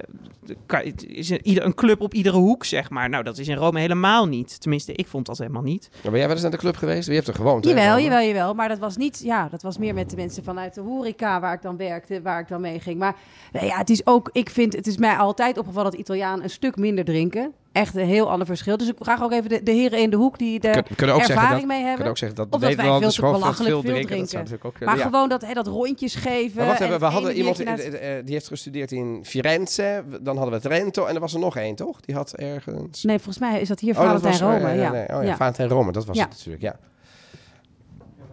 kan- het is een, ieder- een club op iedere hoek, zeg maar. Nou, dat is in Rome helemaal niet. Tenminste, ik vond dat helemaal niet. Maar ben jij wel eens naar de club geweest? Je hebt er gewoond, hè, Jawel, Rome? jawel, jawel. Maar dat was niet. Ja, dat was meer met de mensen vanuit de horeca waar ik dan werkte, waar ik dan mee ging. Maar nee, ja, het is ook. Ik vind, het is mij altijd opgevallen dat Italianen een stuk minder drinken. Echt een heel ander verschil. Dus ik vraag ook even de, de heren in de hoek die er Kun- We kunnen ook zeggen dat... ervaring mee we hebben. kunnen ook zeggen dat, Of dat wij Nederlanders veel te gewoon belachelijk veel Dat zou drinken. natuurlijk ook maar kunnen, ja. gewoon dat, hè, dat rondjes geven. Maar wacht en even, we het hadden ene iemand biertje naast- eh, eh, die heeft gestudeerd in Firenze. Dan hadden we Trento en er was er nog één, toch? Die had ergens... Nee, volgens mij is dat hier Oh, dat Valentijn was- Rome. eh, ja. nee, Oh ja, ja. Valentijn Rome, dat was Ja. het natuurlijk, ja.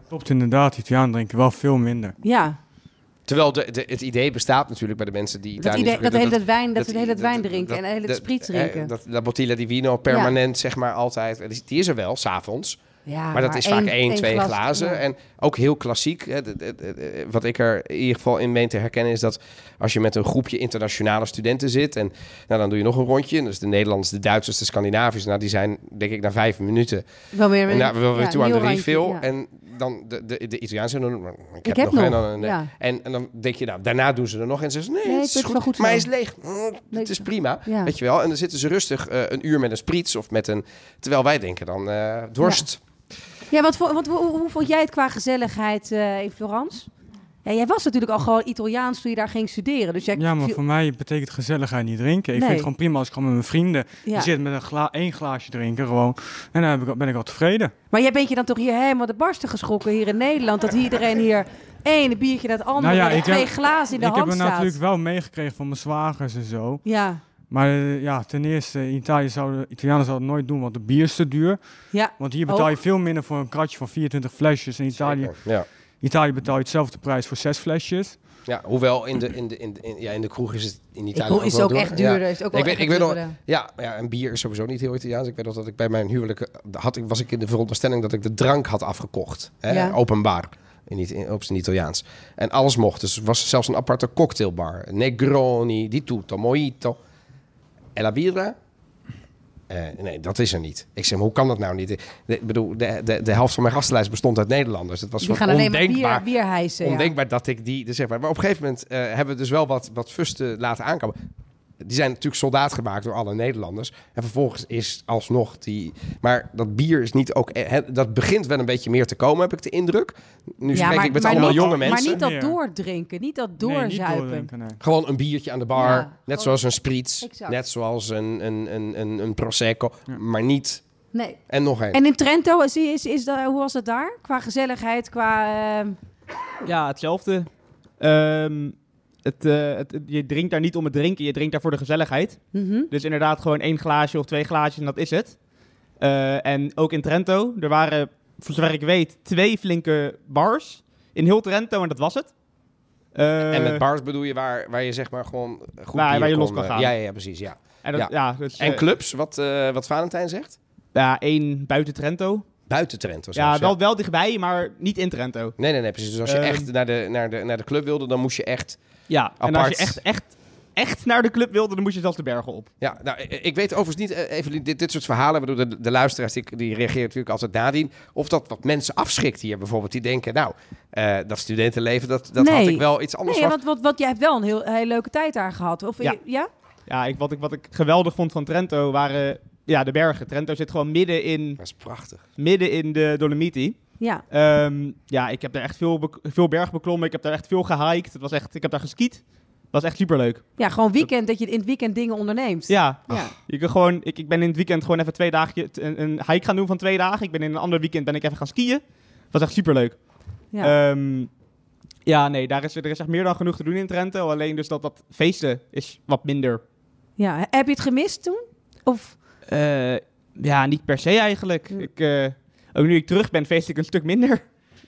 Klopt inderdaad, Italiaan drinken wel veel minder. Ja, Terwijl de, de- het idee bestaat natuurlijk bij de mensen die dat, Italië idee, dat, de hele tijd wijn, dat, dat we de hele tijd dat- wijn dat- drinken dat- en de hele dat- tijd spriet eh, drinken. Dat, dat bottiglia di vino permanent, zeg maar, altijd. Die, die is er wel, s'avonds. ja, Maar dat is vaak één, twee glas- glazen. ja. En ook heel klassiek. hè, de- de- de- de- Wat ik er in ieder geval in meen te herkennen... is dat als je met een groepje internationale studenten zit... en nou, dan doe je nog een rondje. Dus de Nederlanders, de Duitsers, de Scandinaviërs... Nou, die zijn, denk ik, na vijf minuten... Wel weer, En daar wil we ja, toe aan de nieuw randje, refill. ja. En dan de, de, de Italiaanse... dan- Ik heb, Ik heb nog. nog, En dan, een- ja. en, en dan denk je, nou, daarna doen ze er nog. En ze zeggen, nee, Nee, het ik is vind het goed, wel goed maar hij zo. is leeg. Mm, Leuk. Het is prima, Ja. weet je wel. En dan zitten ze rustig eh, een uur met een spriets of met een... Terwijl wij denken dan, eh, dorst. Ja, wat, vo- wat, hoe, hoe vond jij het qua gezelligheid eh, in Florence? Ja, jij was natuurlijk al gewoon Italiaans toen je daar ging studeren. Dus jij Ja, maar viel- voor mij betekent gezelligheid niet drinken. Ik Nee. vind het gewoon prima als ik gewoon met mijn vrienden ja. zit met een gla één glaasje drinken gewoon. En dan heb ik, al- ben ik al tevreden. Maar jij bent je dan toch hier helemaal de barsten geschrokken hier in Nederland. Dat iedereen hier één biertje dat andere, Nou ja, en ik twee heb- glazen in de ik heb hand het staat. natuurlijk wel meegekregen van mijn zwagers en zo. Ja, Maar eh, ja, ten eerste, in Italië zouden, Italianen zouden het nooit doen, want de bier is te duur. Ja, Want hier betaal je Ook. veel minder voor een kratje van 24 flesjes. In Italië, Ja. Italië betaal je hetzelfde prijs voor 6 flesjes. ja, hoewel in de, in, de, in, de, in- ja, in de kroeg is het in ik Italië hoor- is het wel ook door. echt duurder. Ja. Heeft ook Ik wel weet- echt ik weet nog- duurder. Ja, ja, en bier is sowieso niet heel Italiaans. Ik weet nog dat ik bij mijn huwelijk eh, had, ik- was ik in de veronderstelling dat ik de drank had afgekocht. Hè, Ja. Openbaar, in, It- in, op zijn Italiaans. En alles mocht. Dus er was zelfs een aparte cocktailbar. Negroni, di tutto, mojito. En la birra? Eh, nee, dat is er niet. Ik zeg, maar hoe kan dat nou niet? Ik ik bedoel, de, de, de helft van mijn gastenlijst bestond uit Nederlanders. Het was Die soort gaan alleen maar ondenkbaar bier, bier hijsen. ja. ondenkbaar dat ik die... Dus zeg maar. maar op een gegeven moment eh, hebben we dus wel wat, wat fusten laten aankomen. Die zijn natuurlijk soldaat gemaakt door alle Nederlanders. En vervolgens is alsnog die... Maar dat bier is niet ook... eh, hè, dat begint wel een beetje meer te komen, heb ik de indruk. Nu Ja, spreek maar- ik met maar allemaal niet- jonge Maar mensen. niet dat Ja. doordrinken, niet dat Nee, niet doorzuipen. doordrinken, nee. Gewoon een biertje aan de bar. Ja, net gewoon- zoals een spritz. Exact. Net zoals een, een, een, een, een prosecco. Ja. Maar niet... nee. En nog één. En in Trento, is, is, is dat, hoe was het daar? Qua gezelligheid, qua... ehm, Ja, hetzelfde. Ehm, het, eh, het, het- je drinkt daar niet om het drinken, je drinkt daar voor de gezelligheid. mhm. Dus inderdaad gewoon één glaasje of twee glaasjes en dat is het. Eh, en ook in Trento, er waren, voor zover ik weet, twee flinke bars. In heel Trento en dat was het. Eh, En met bars bedoel je waar, waar je zeg maar gewoon goed Waar- bier waar je los kon, kan eh, gaan. Ja, ja, ja, precies. Ja. en dat, ja. ja. dus, En eh, clubs, wat, eh, wat Valentijn zegt? ja, één buiten Trento. Buiten Trento zelfs, Ja, wel, wel dichtbij, maar niet in Trento. Nee, nee, nee, precies. Dus als je Ehm, echt naar de, naar, de, naar de club wilde, dan moest je echt... Ja, en als Apart. je echt, echt, echt naar de club wilde, dan moest je zelfs de bergen op. Ja, nou, eh, ik weet overigens niet, eh, Evelien, dit, dit soort verhalen, waardoor de, de luisteraars, die, die reageert natuurlijk altijd nadien, of dat wat mensen afschrikt hier bijvoorbeeld, die denken, nou, eh, dat studentenleven, dat, dat had Nee. ik wel iets anders Nee, verwacht. want, want, want jij hebt wel een heel, heel leuke tijd daar gehad. Of, Ja. je- ja? Ja, ik, wat, ik, wat ik geweldig vond van Trento waren ja, de bergen. Trento zit gewoon midden in, Dat is prachtig. midden in de Dolomiti. Ja. Ehm, ja, ik heb daar echt veel, bek- veel berg beklommen. Ik heb daar echt veel gehiked. Het was echt, ik heb daar geskiet. Het was echt superleuk. ja, gewoon weekend, dat je in het weekend dingen onderneemt. Ja, Ja. je kan gewoon, ik, ik ben in het weekend gewoon even twee dagen een, een hike gaan doen van twee dagen. Ik ben in een ander weekend ben ik even gaan skiën. Het was echt superleuk. Ja. Ja, ja nee, daar is, er is echt meer dan genoeg te doen in Trento. Alleen dus dat, dat feesten is wat minder. Ja. Heb je het gemist toen? Of, Eh, ja, niet per se eigenlijk. Hm. Ik, eh, ook nu ik terug ben, feest ik een stuk minder.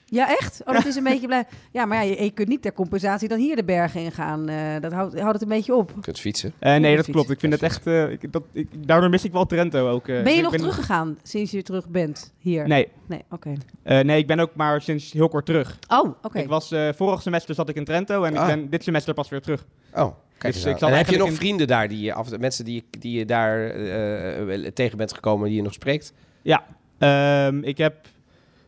ja, echt? Oh, dat is een beetje blij. Ja, maar ja, je, je kunt niet ter compensatie dan hier de bergen in gaan. eh, dat houdt, houdt het een beetje op. Je kunt fietsen. Eh, nee, dat fiets. klopt. Ik vind het echt. eh, ik, dat, ik, daardoor mis ik wel Trento ook. eh. ben je Ik nog ben- teruggegaan sinds je terug bent hier? Nee, Nee, oké. eh, nee, ik ben ook maar sinds heel kort terug. Oh, oké. Ik was, eh, vorig semester zat ik in Trento en Ah. ik ben dit semester pas weer terug. Oh, kijk Dus eens ik aan. zat En heb je eigenlijk nog in- vrienden daar, die je af, mensen die, je- die je daar eh, tegen bent gekomen, die je nog spreekt? Ehm, ik heb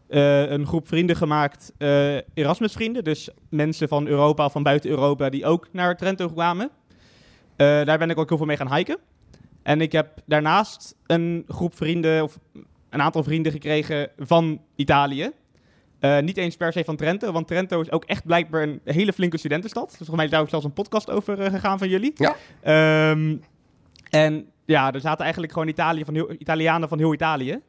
eh, een groep vrienden gemaakt, eh Erasmus-vrienden. Dus mensen van Europa, van buiten Europa, die ook naar Trento kwamen. Eh, daar ben ik ook heel veel mee gaan hiken. En ik heb daarnaast een groep vrienden, of een aantal vrienden gekregen van Italië. Eh, niet eens per se van Trento, want Trento is ook echt blijkbaar een hele flinke studentenstad. Dus volgens mij is daar ook zelfs een podcast over eh, gegaan van jullie. Ja. Ehm, en ja, er zaten eigenlijk gewoon Italië van heel, Italianen van heel Italië.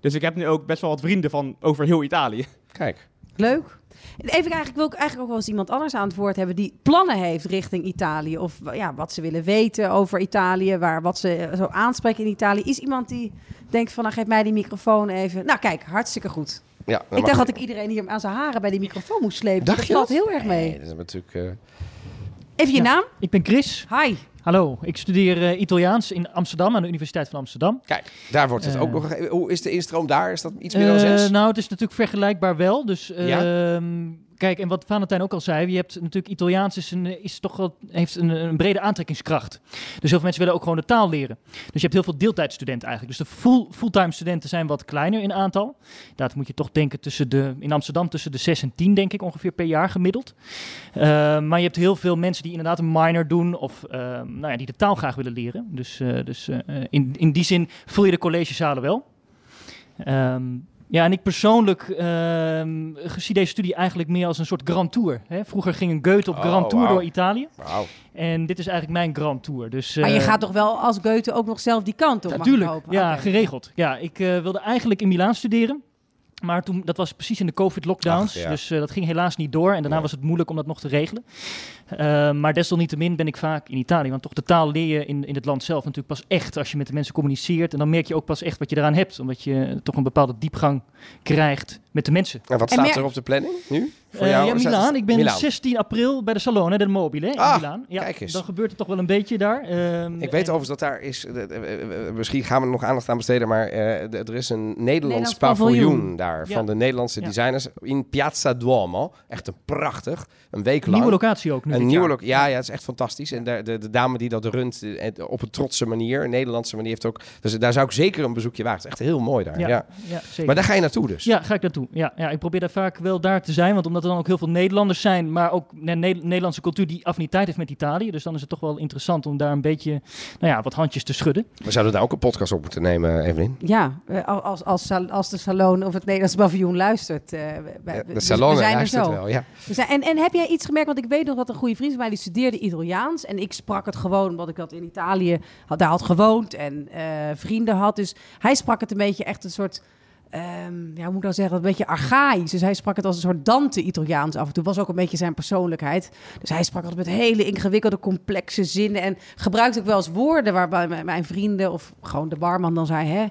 Dus ik heb nu ook best wel wat vrienden van over heel Italië. Kijk. Leuk. Even eigenlijk wil ik eigenlijk ook wel eens iemand anders aan het woord hebben die plannen heeft richting Italië. Of ja, wat ze willen weten over Italië, waar, wat ze eh, zo aanspreken in Italië. Is iemand die denkt van, nou geef mij die microfoon even. Nou kijk, hartstikke goed. Ja, ik dacht dat ik iedereen hier aan zijn haren bij die microfoon moest slepen. Dacht dat je valt dat? heel erg mee. Nee, dat is natuurlijk... eh, Even je Ja. naam. Ik ben Chris. Hi. Hallo, ik studeer eh, Italiaans in Amsterdam aan de Universiteit van Amsterdam. Kijk, daar wordt het Eh. ook nog... gegeven. Hoe is de instroom daar? Is dat iets meer dan Eh, zes? nou, het is natuurlijk vergelijkbaar wel. Dus Ja? ehm, kijk, en wat Valentijn ook al zei, je hebt natuurlijk Italiaans is een, eh, is toch wel, heeft een, een brede aantrekkingskracht. Dus heel veel mensen willen ook gewoon de taal leren. Dus je hebt heel veel deeltijdstudenten eigenlijk. Dus de full, fulltime studenten zijn wat kleiner in aantal. Dat moet je toch denken tussen de, in Amsterdam tussen de 6 en 10, denk ik, ongeveer per jaar gemiddeld. Eh, maar je hebt heel veel mensen die inderdaad een minor doen of eh, nou ja, die de taal graag willen leren. Dus, eh, dus eh, eh, in, in die zin vul je de collegezalen wel. Ehm, ja, en ik persoonlijk ehm, zie deze studie eigenlijk meer als een soort grand tour. Hè? Vroeger ging een Goethe op Oh, grand tour wauw. door Italië. Wauw. En dit is eigenlijk mijn grand tour. Dus, maar je eh, gaat toch wel als Goethe ook nog zelf die kant op, mag ik Natuurlijk, hopen? ja, Oké. geregeld. Ja, ik eh, wilde eigenlijk in Milaan studeren. Maar toen, dat was precies in de COVID-lockdowns. Ach, ja. Dus eh, dat ging helaas niet door. En daarna Nee. was het moeilijk om dat nog te regelen. Eh, maar desalniettemin ben ik vaak in Italië. Want toch de taal leer je in, in het land zelf natuurlijk pas echt als je met de mensen communiceert. En dan merk je ook pas echt wat je eraan hebt. Omdat je toch een bepaalde diepgang krijgt met de mensen. En wat En staat mer- er op de planning nu? Voor Eh, jou? ja, Staat- Milaan. Ik ben Milaan. 16 april bij de Salone del Mobile hè, in Ah, Milaan. Ja, kijk eens. Dan gebeurt er toch wel een beetje daar. Ehm, Ik weet en- overigens dat daar is, eh, eh, eh, misschien gaan we er nog aandacht aan besteden, maar eh, d- er is een Nederlands, Nederlands paviljoen, paviljoen. daar Ja. van de Nederlandse Ja. designers in Piazza Duomo. Echt een prachtig, een week lang. Nieuwe locatie ook nu. Een dit nieuwe jaar. look. Ja, ja, het is echt fantastisch. En de, de, de dame die dat runt eh, eh, op een trotse manier, een Nederlandse manier, heeft ook. Dus daar zou ik zeker een bezoekje wagen. Het is echt heel mooi daar. Ja. Ja, ja, zeker. Maar daar ga je naartoe dus. Ja, ga ik naartoe. Ja, ja, ik probeer daar vaak wel daar te zijn. Want omdat er dan ook heel veel Nederlanders zijn, maar ook ne- Ne- Nederlandse cultuur die affiniteit heeft met Italië. Dus dan is het toch wel interessant om daar een beetje nou ja, wat handjes te schudden. We zouden daar ook een podcast op moeten nemen, Evelyn. Ja, eh, als, als, sal- als de salon of het Nederlands paviljoen luistert. eh, we- we- Ja, we- de salon we zijn er luistert zo. wel. Ja. We zijn- en, en heb jij iets gemerkt? Want ik weet nog dat een goede vriend van mij die studeerde Italiaans. En ik sprak het gewoon omdat ik dat in Italië had, daar had gewoond en eh, vrienden had. Dus hij sprak het een beetje echt een soort. ehm, ja, hoe moet ik nou zeggen? Een beetje archaïs. Dus hij sprak het als een soort Dante Italiaans af en toe. Was ook een beetje zijn persoonlijkheid. Dus hij sprak altijd met hele ingewikkelde, complexe zinnen. En gebruikte ook wel eens woorden waarbij mijn, mijn vrienden of gewoon de barman dan zei: hè,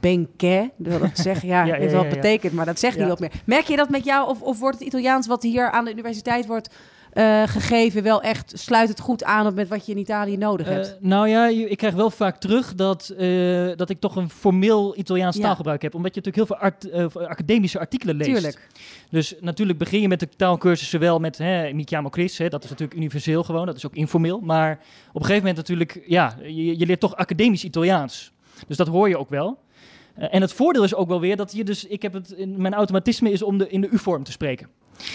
Benke, wil dat zeggen? Ja, Ja, ik weet ja, wel ja, wat ja. betekent, maar dat zegt Ja. niemand meer. Merk je dat met jou, of, of wordt het Italiaans wat hier aan de universiteit wordt eh, gegeven wel echt, sluit het goed aan op met wat je in Italië nodig hebt? Eh, nou ja, je- ik krijg wel vaak terug dat, eh, dat ik toch een formeel Italiaans Ja. taalgebruik heb. Omdat je natuurlijk heel veel art- eh, of academische artikelen leest. Tuurlijk. Dus natuurlijk begin je met de taalkursussen wel met hè, mi chiamo Chris. Hè, dat is natuurlijk universeel gewoon, dat is ook informeel. Maar op een gegeven moment natuurlijk, ja, je, je leert toch academisch Italiaans. Dus dat hoor je ook wel. Eh, en het voordeel is ook wel weer dat je dus, ik heb het, in, mijn automatisme is om de, in de U-vorm te spreken.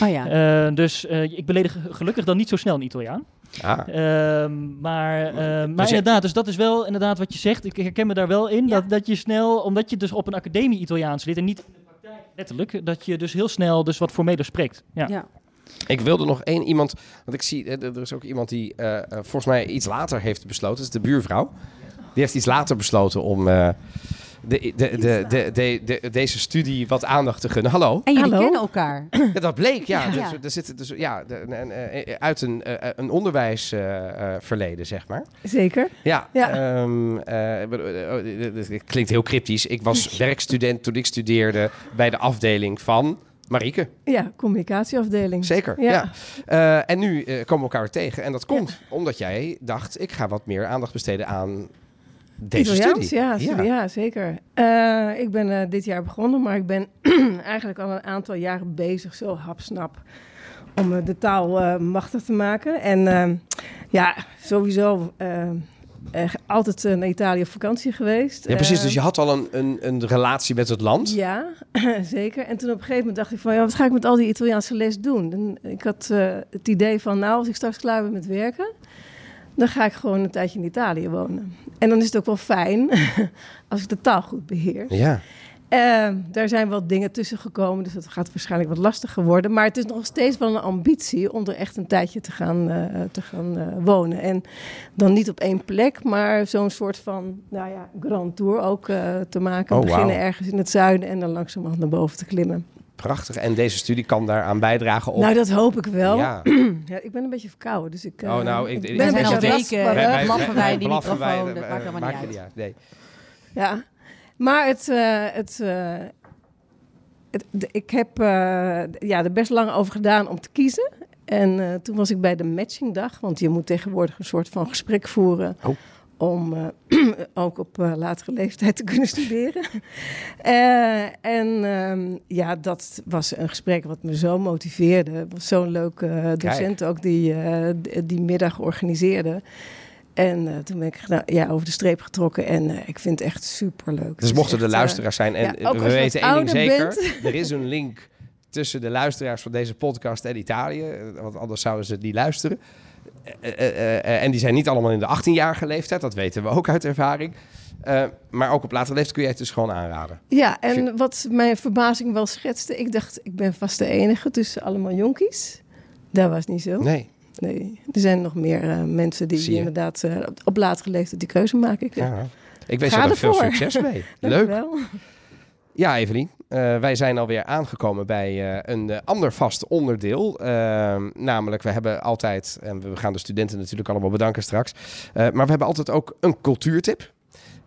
Oh ja. Eh, dus eh, ik beledig gelukkig dan niet zo snel een Italiaan. Ah. Ehm, maar eh, maar je- inderdaad, dus dat is wel inderdaad wat je zegt. Ik herken me daar wel in. Dat, dat je snel, omdat je dus op een academie Italiaans zit en niet in de praktijk letterlijk, dat je dus heel snel dus wat formeler spreekt. Ja. ja. Ik wilde nog één iemand, want ik zie, eh, er is ook iemand die eh, eh, volgens mij iets later heeft besloten. Dat is de buurvrouw. Die heeft iets later besloten om eh, de, de, de, de, de, de- deze studie wat aandacht te gunnen. Hallo. En jullie Hallo? kennen elkaar. Ja, dat bleek, ja. Ja. Dus, er zitten dus, ja de- een- een- eh, uit een, eh, een onderwijsverleden, zeg maar. Zeker. Ja, Ja. ehm, eh, ik bedoel, eh, oh, dit- dit- dit klinkt heel cryptisch. Ik was werkstudent toen ik studeerde bij de afdeling van Marieke. Ja, communicatieafdeling. Zeker, ja. Ja. Eh, en nu eh, komen we elkaar tegen. En dat komt omdat jij dacht, ik ga wat meer aandacht besteden aan deze Italiaans, studie. Ja, studie, ja. zeker. Eh, ik ben eh, dit jaar begonnen, maar ik ben eigenlijk al een aantal jaren bezig, zo hapsnap, om eh, de taal eh, machtig te maken. En ehm, ja, sowieso eh, eh, altijd eh, naar Italië op vakantie geweest. Ja, precies. Eh, Dus je had al een, een, een relatie met het land. Ja, zeker. En toen op een gegeven moment dacht ik van, ja, wat ga ik met al die Italiaanse les doen? En ik had eh, het idee van, nou, als ik straks klaar ben met werken, dan ga ik gewoon een tijdje in Italië wonen. En dan is het ook wel fijn als ik de taal goed beheer. Ja. Eh, daar zijn wel dingen tussen gekomen, dus dat gaat waarschijnlijk wat lastiger worden. Maar het is nog steeds wel een ambitie om er echt een tijdje te gaan, eh, te gaan eh, wonen. En dan niet op één plek, maar zo'n soort van nou ja, grand tour ook eh, te maken. Oh, Beginnen wauw. ergens in het zuiden en dan langzamerhand naar boven te klimmen. Prachtig. En deze studie kan daaraan bijdragen op... Nou, dat hoop ik wel. Ja. ja. ik ben een beetje verkouden, dus ik, eh, Oh, nou, ik- ik- ben Wij een zijn beetje al ras- weken, maar, hè, eh, wij- blaffen wij in die blaffen microfoon, wij, dat eh, maakt helemaal niet uit. Nee. Ja, maar het. eh, het eh, het, de- ik heb eh, d- ja, er best lang over gedaan om te kiezen. En eh, toen was ik bij de matchingdag, want je moet tegenwoordig een soort van gesprek voeren. Oh. Om eh, ook op eh, latere leeftijd te kunnen studeren. Eh, en ehm, ja, dat was een gesprek wat me zo motiveerde. Het was zo'n leuke eh, docent ook die eh, d- die middag organiseerde. En eh, toen ben ik gedaan- ja, over de streep getrokken. En eh, ik vind het echt superleuk. Het Dus is mochten echt, er eh, luisteraars zijn, en ja, ook we als je wat weten één ding ouder zeker, er is een link tussen de luisteraars van deze podcast en Italië, eh, want anders zouden ze het niet luisteren. Eh, eh, eh, eh, en die zijn niet allemaal in de 18-jarige leeftijd, dat weten we ook uit ervaring. Eh, maar ook op latere leeftijd kun je het dus gewoon aanraden. Ja, en wat mijn verbazing wel schetste. Ik dacht, ik ben vast de enige tussen allemaal jonkies. Dat was niet zo. Nee, Nee. Er zijn nog meer eh, mensen Zie die je. inderdaad eh, op, op latere leeftijd die keuze maken. Ik, ja. ik wens Ga je er veel ervoor. succes mee. Dank je Leuk. wel. Ja, Evelien. eh, wij zijn alweer aangekomen bij eh, een eh, ander vast onderdeel. Eh, namelijk, we hebben altijd, en we gaan de studenten natuurlijk allemaal bedanken straks, eh, maar we hebben altijd ook een cultuurtip.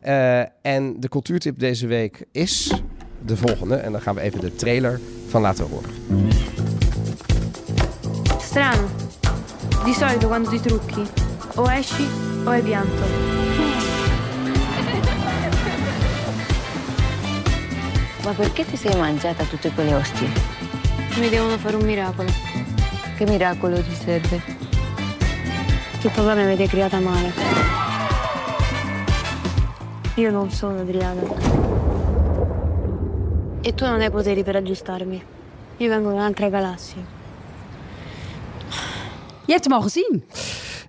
Eh, en de cultuurtip deze week is de volgende. En dan gaan we even de trailer van laten horen. Strano. Di solito quando ti trucchi, o esci o hai pianto. Ma perché ti sei mangiata tutte quelle ostie? Mi devono fare un miracolo. Che miracolo ti serve? Che papà mi avete creata male. Io non sono Adriana. E tu non hai poteri per aggiustarmi. Io vengo da un'altra galassia. Je hebt hem al gezien.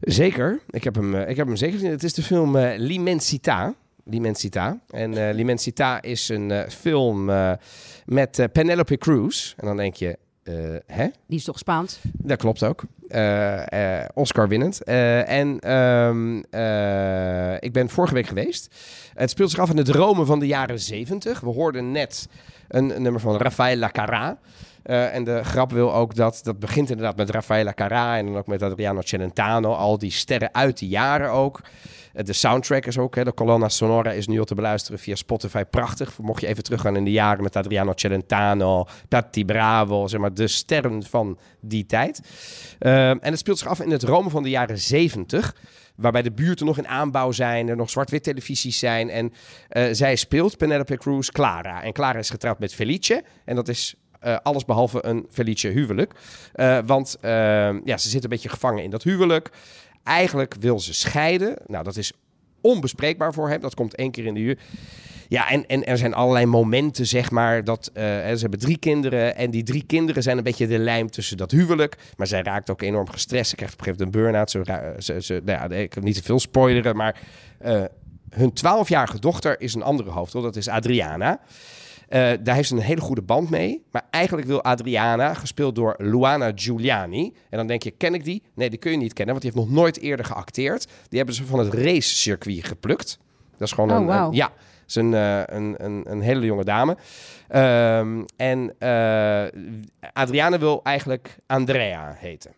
Zeker. Ik heb hem, eh, ik heb hem zeker gezien. Het is de film eh, L'Immensità. L'Immensità. En eh, L'Immensità is een eh, film eh, met eh, Penelope Cruz. En dan denk je, eh, hè? Die is toch Spaans? Dat klopt ook. Eh, eh, Oscar winnend. Eh, en ehm, eh, ik ben vorige week geweest. Het speelt zich af in het Rome van de jaren zeventig. We hoorden net een nummer van Raffaella Carrà. Eh, en de grap wil ook dat, dat begint inderdaad met Raffaella Carrà en dan ook met Adriano Celentano. Al die sterren uit die jaren ook. Eh, de soundtrack is ook, hè, de colonna sonora is nu al te beluisteren via Spotify. Prachtig. Mocht je even teruggaan in de jaren met Adriano Celentano, Tatti Bravo, zeg maar de sterren van die tijd. Eh, en het speelt zich af in het Rome van de jaren zeventig. Waarbij de buurten nog in aanbouw zijn, er nog zwart-wit televisies zijn. En eh, zij speelt Penelope Cruz Clara. En Clara is getrouwd met Felice. En dat is eh, alles behalve een Felice huwelijk. Eh, want eh, ja, ze zit een beetje gevangen in dat huwelijk. Eigenlijk wil ze scheiden. Nou, dat is onbespreekbaar voor hem. Dat komt één keer in de uur. Ja, en, en er zijn allerlei momenten, zeg maar, dat eh, hè, ze hebben drie kinderen. En die drie kinderen zijn een beetje de lijm tussen dat huwelijk. Maar zij raakt ook enorm gestrest. Ze krijgt op een gegeven moment een burn-out. Ze, ra- ze, ze, nou ja, ik wil niet te veel spoileren, maar eh, hun twaalfjarige dochter is een andere hoofdrol. Dat is Adriana. Eh, daar heeft ze een hele goede band mee. Maar eigenlijk wil Adriana, gespeeld door Luana Giuliani. En dan denk je, ken ik die? Nee, die kun je niet kennen, want die heeft nog nooit eerder geacteerd. Die hebben ze van het racecircuit geplukt. Dat is gewoon Oh, een, wauw. een- Ja, is een, eh, een, een, een hele jonge dame. Ehm, en eh Adriana wil eigenlijk Andrea heten.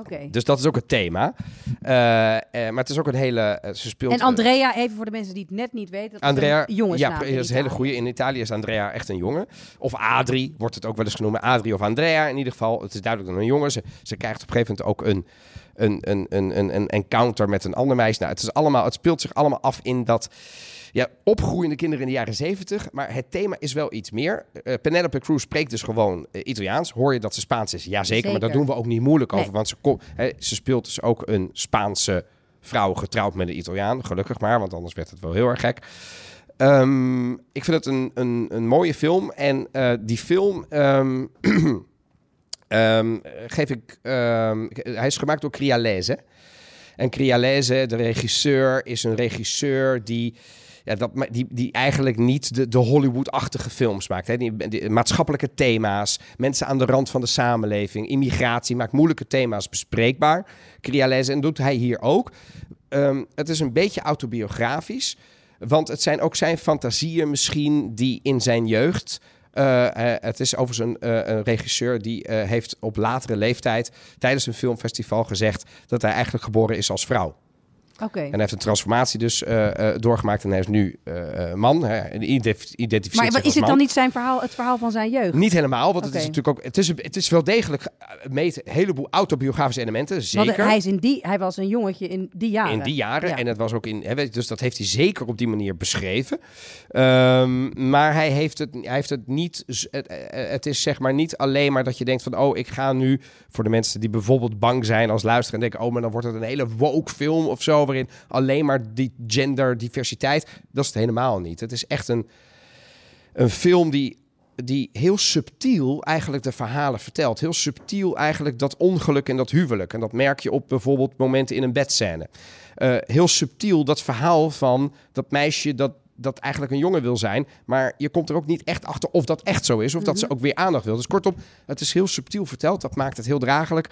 Oké. Dus dat is ook het thema. Eh, eh, maar het is ook een hele... eh, ze speelt... En Andrea, even voor de mensen die het net niet weten. Dat Andrea, is een jongensnaam ja, in dat is een hele Italië. goede. In Italië is Andrea echt een jongen. Of Adri wordt het ook wel eens genoemd. Adri of Andrea in ieder geval. Het is duidelijk dan een jongen. Ze, ze krijgt op een gegeven moment ook een, een, een, een, een, een encounter met een ander meisje. Nou, het, is allemaal, het speelt zich allemaal af in dat ja, opgroeiende kinderen in de jaren zeventig. Maar het thema is wel iets meer. Eh, Penelope Cruz spreekt dus gewoon eh, Italiaans. Hoor je dat ze Spaans is? Jazeker, zeker. maar daar Zeker. doen we ook niet moeilijk Nee. over. Want ze, kom, hè, ze speelt dus ook een Spaanse vrouw getrouwd met een Italiaan. Gelukkig maar, want anders werd het wel heel erg gek. Ehm, ik vind het een, een, een mooie film. En eh, die film ehm, ehm, geef ik. ehm, ik- hij is gemaakt door Crialese. En Crialese, de regisseur, is een regisseur die. Ja, dat, ma- die, die eigenlijk niet de, de Hollywood-achtige films maakt. Hè? Die, die- maatschappelijke thema's, mensen aan de rand van de samenleving, immigratie, maakt moeilijke thema's bespreekbaar. Crialese, en doet hij hier ook. Ehm, het is een beetje autobiografisch, want het zijn ook zijn fantasieën misschien die in zijn jeugd. eh, eh, het is overigens een, eh, een regisseur die eh, heeft op latere leeftijd tijdens een filmfestival gezegd dat hij eigenlijk geboren is als vrouw. Oké. En hij heeft een transformatie dus eh, eh, doorgemaakt en hij is nu eh, eh, man. Hè, en identif- identificeert Maar zich wat- is als het man. dan niet zijn verhaal, het verhaal van zijn jeugd? Niet helemaal, want het is Oké. natuurlijk ook. Het is, het is wel degelijk. eh, meet een heleboel autobiografische elementen. Want eh, Zeker. hij, is in die, hij was een jongetje in die jaren. In die jaren. Ja. En dat was ook in. Hè, weet je, dus dat heeft hij zeker op die manier beschreven. Ehm, maar hij heeft het, hij heeft het niet. z- Het, eh, het is zeg maar niet alleen maar dat je denkt van. Oh, ik ga nu. Voor de mensen die bijvoorbeeld bang zijn als luisteren. En denken. Oh, maar dan wordt het een hele woke film of zo. Waarin alleen maar die genderdiversiteit. Dat is het helemaal niet. Het is echt een. Een film die. Die heel subtiel eigenlijk de verhalen vertelt. Heel subtiel eigenlijk dat ongeluk en dat huwelijk. En dat merk je op bijvoorbeeld momenten in een bedscène eh, heel subtiel dat verhaal van dat meisje dat dat eigenlijk een jongen wil zijn. Maar je komt er ook niet echt achter of dat echt zo is. Of dat ze ook weer aandacht wil. Dus kortom, het is heel subtiel verteld. Dat maakt het heel draaglijk.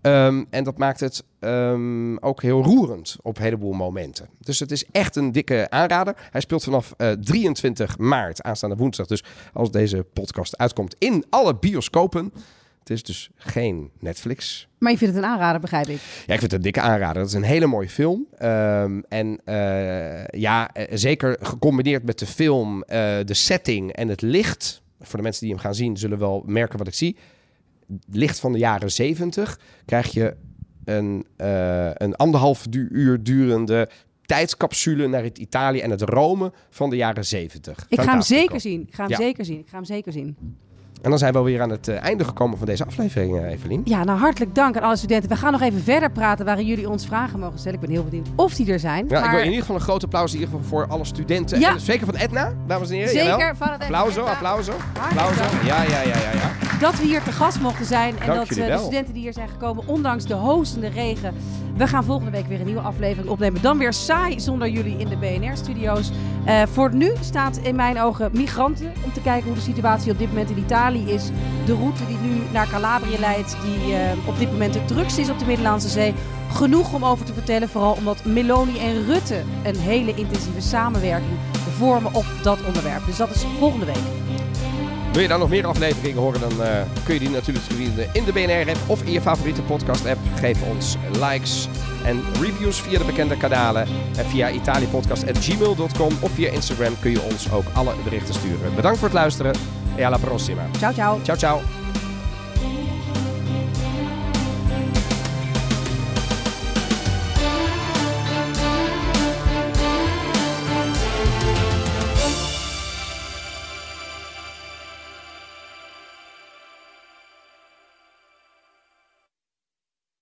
Ehm, en dat maakt het ehm, ook heel roerend op een heleboel momenten. Dus het is echt een dikke aanrader. Hij speelt vanaf eh, 23 maart, aanstaande woensdag. Dus als deze podcast uitkomt in alle bioscopen. Het is dus geen Netflix. Maar je vindt het een aanrader, begrijp ik. Ja, ik vind het een dikke aanrader. Dat is een hele mooie film. Ehm, en eh, ja, eh, zeker gecombineerd met de film, eh, de setting en het licht. Voor de mensen die hem gaan zien, zullen wel merken wat ik zie. Licht van de jaren zeventig krijg je een, eh, een anderhalf du- uur durende tijdscapsule naar het Italië en het Rome van de jaren zeventig. Ik ga hem zeker zien. Ik ga hem Ja. zeker zien. Ik ga hem zeker zien. En dan zijn we alweer aan het eh, einde gekomen van deze aflevering, eh, Evelien. Ja, nou hartelijk dank aan alle studenten. We gaan nog even verder praten waarin jullie ons vragen mogen stellen. Ik ben heel benieuwd of die er zijn. Ja, ik wil maar in ieder geval een groot applaus in ieder geval voor alle studenten. Ja. En dus zeker van Etna, dames en heren. Zeker jawel. van het Etna. Applaus, hoor, applaus. hoor. Applaus. hoor. Ja, ja, ja, ja, ja. dat we hier te gast mochten zijn. En Dank dat jullie eh, de wel. studenten die hier zijn gekomen, ondanks de hostende regen. We gaan volgende week weer een nieuwe aflevering opnemen. Dan weer saai zonder jullie in de BNR-studio's. Eh, voor nu staat in mijn ogen migranten. Om te kijken hoe de situatie op dit moment in Italië is. De route die nu naar Calabria leidt. Die eh, op dit moment de drukste is op de Middellandse Zee. Genoeg om over te vertellen. Vooral omdat Meloni en Rutte een hele intensieve samenwerking vormen op dat onderwerp. Dus dat is volgende week. Wil je daar nog meer afleveringen horen, dan eh, kun je die natuurlijk vinden in de BNR-app of in je favoriete podcast-app. Geef ons likes en reviews via de bekende kanalen. En via italiapodcast.gmail.com of via Instagram kun je ons ook alle berichten sturen. Bedankt voor het luisteren. E alla prossima. Ciao, ciao. Ciao, ciao.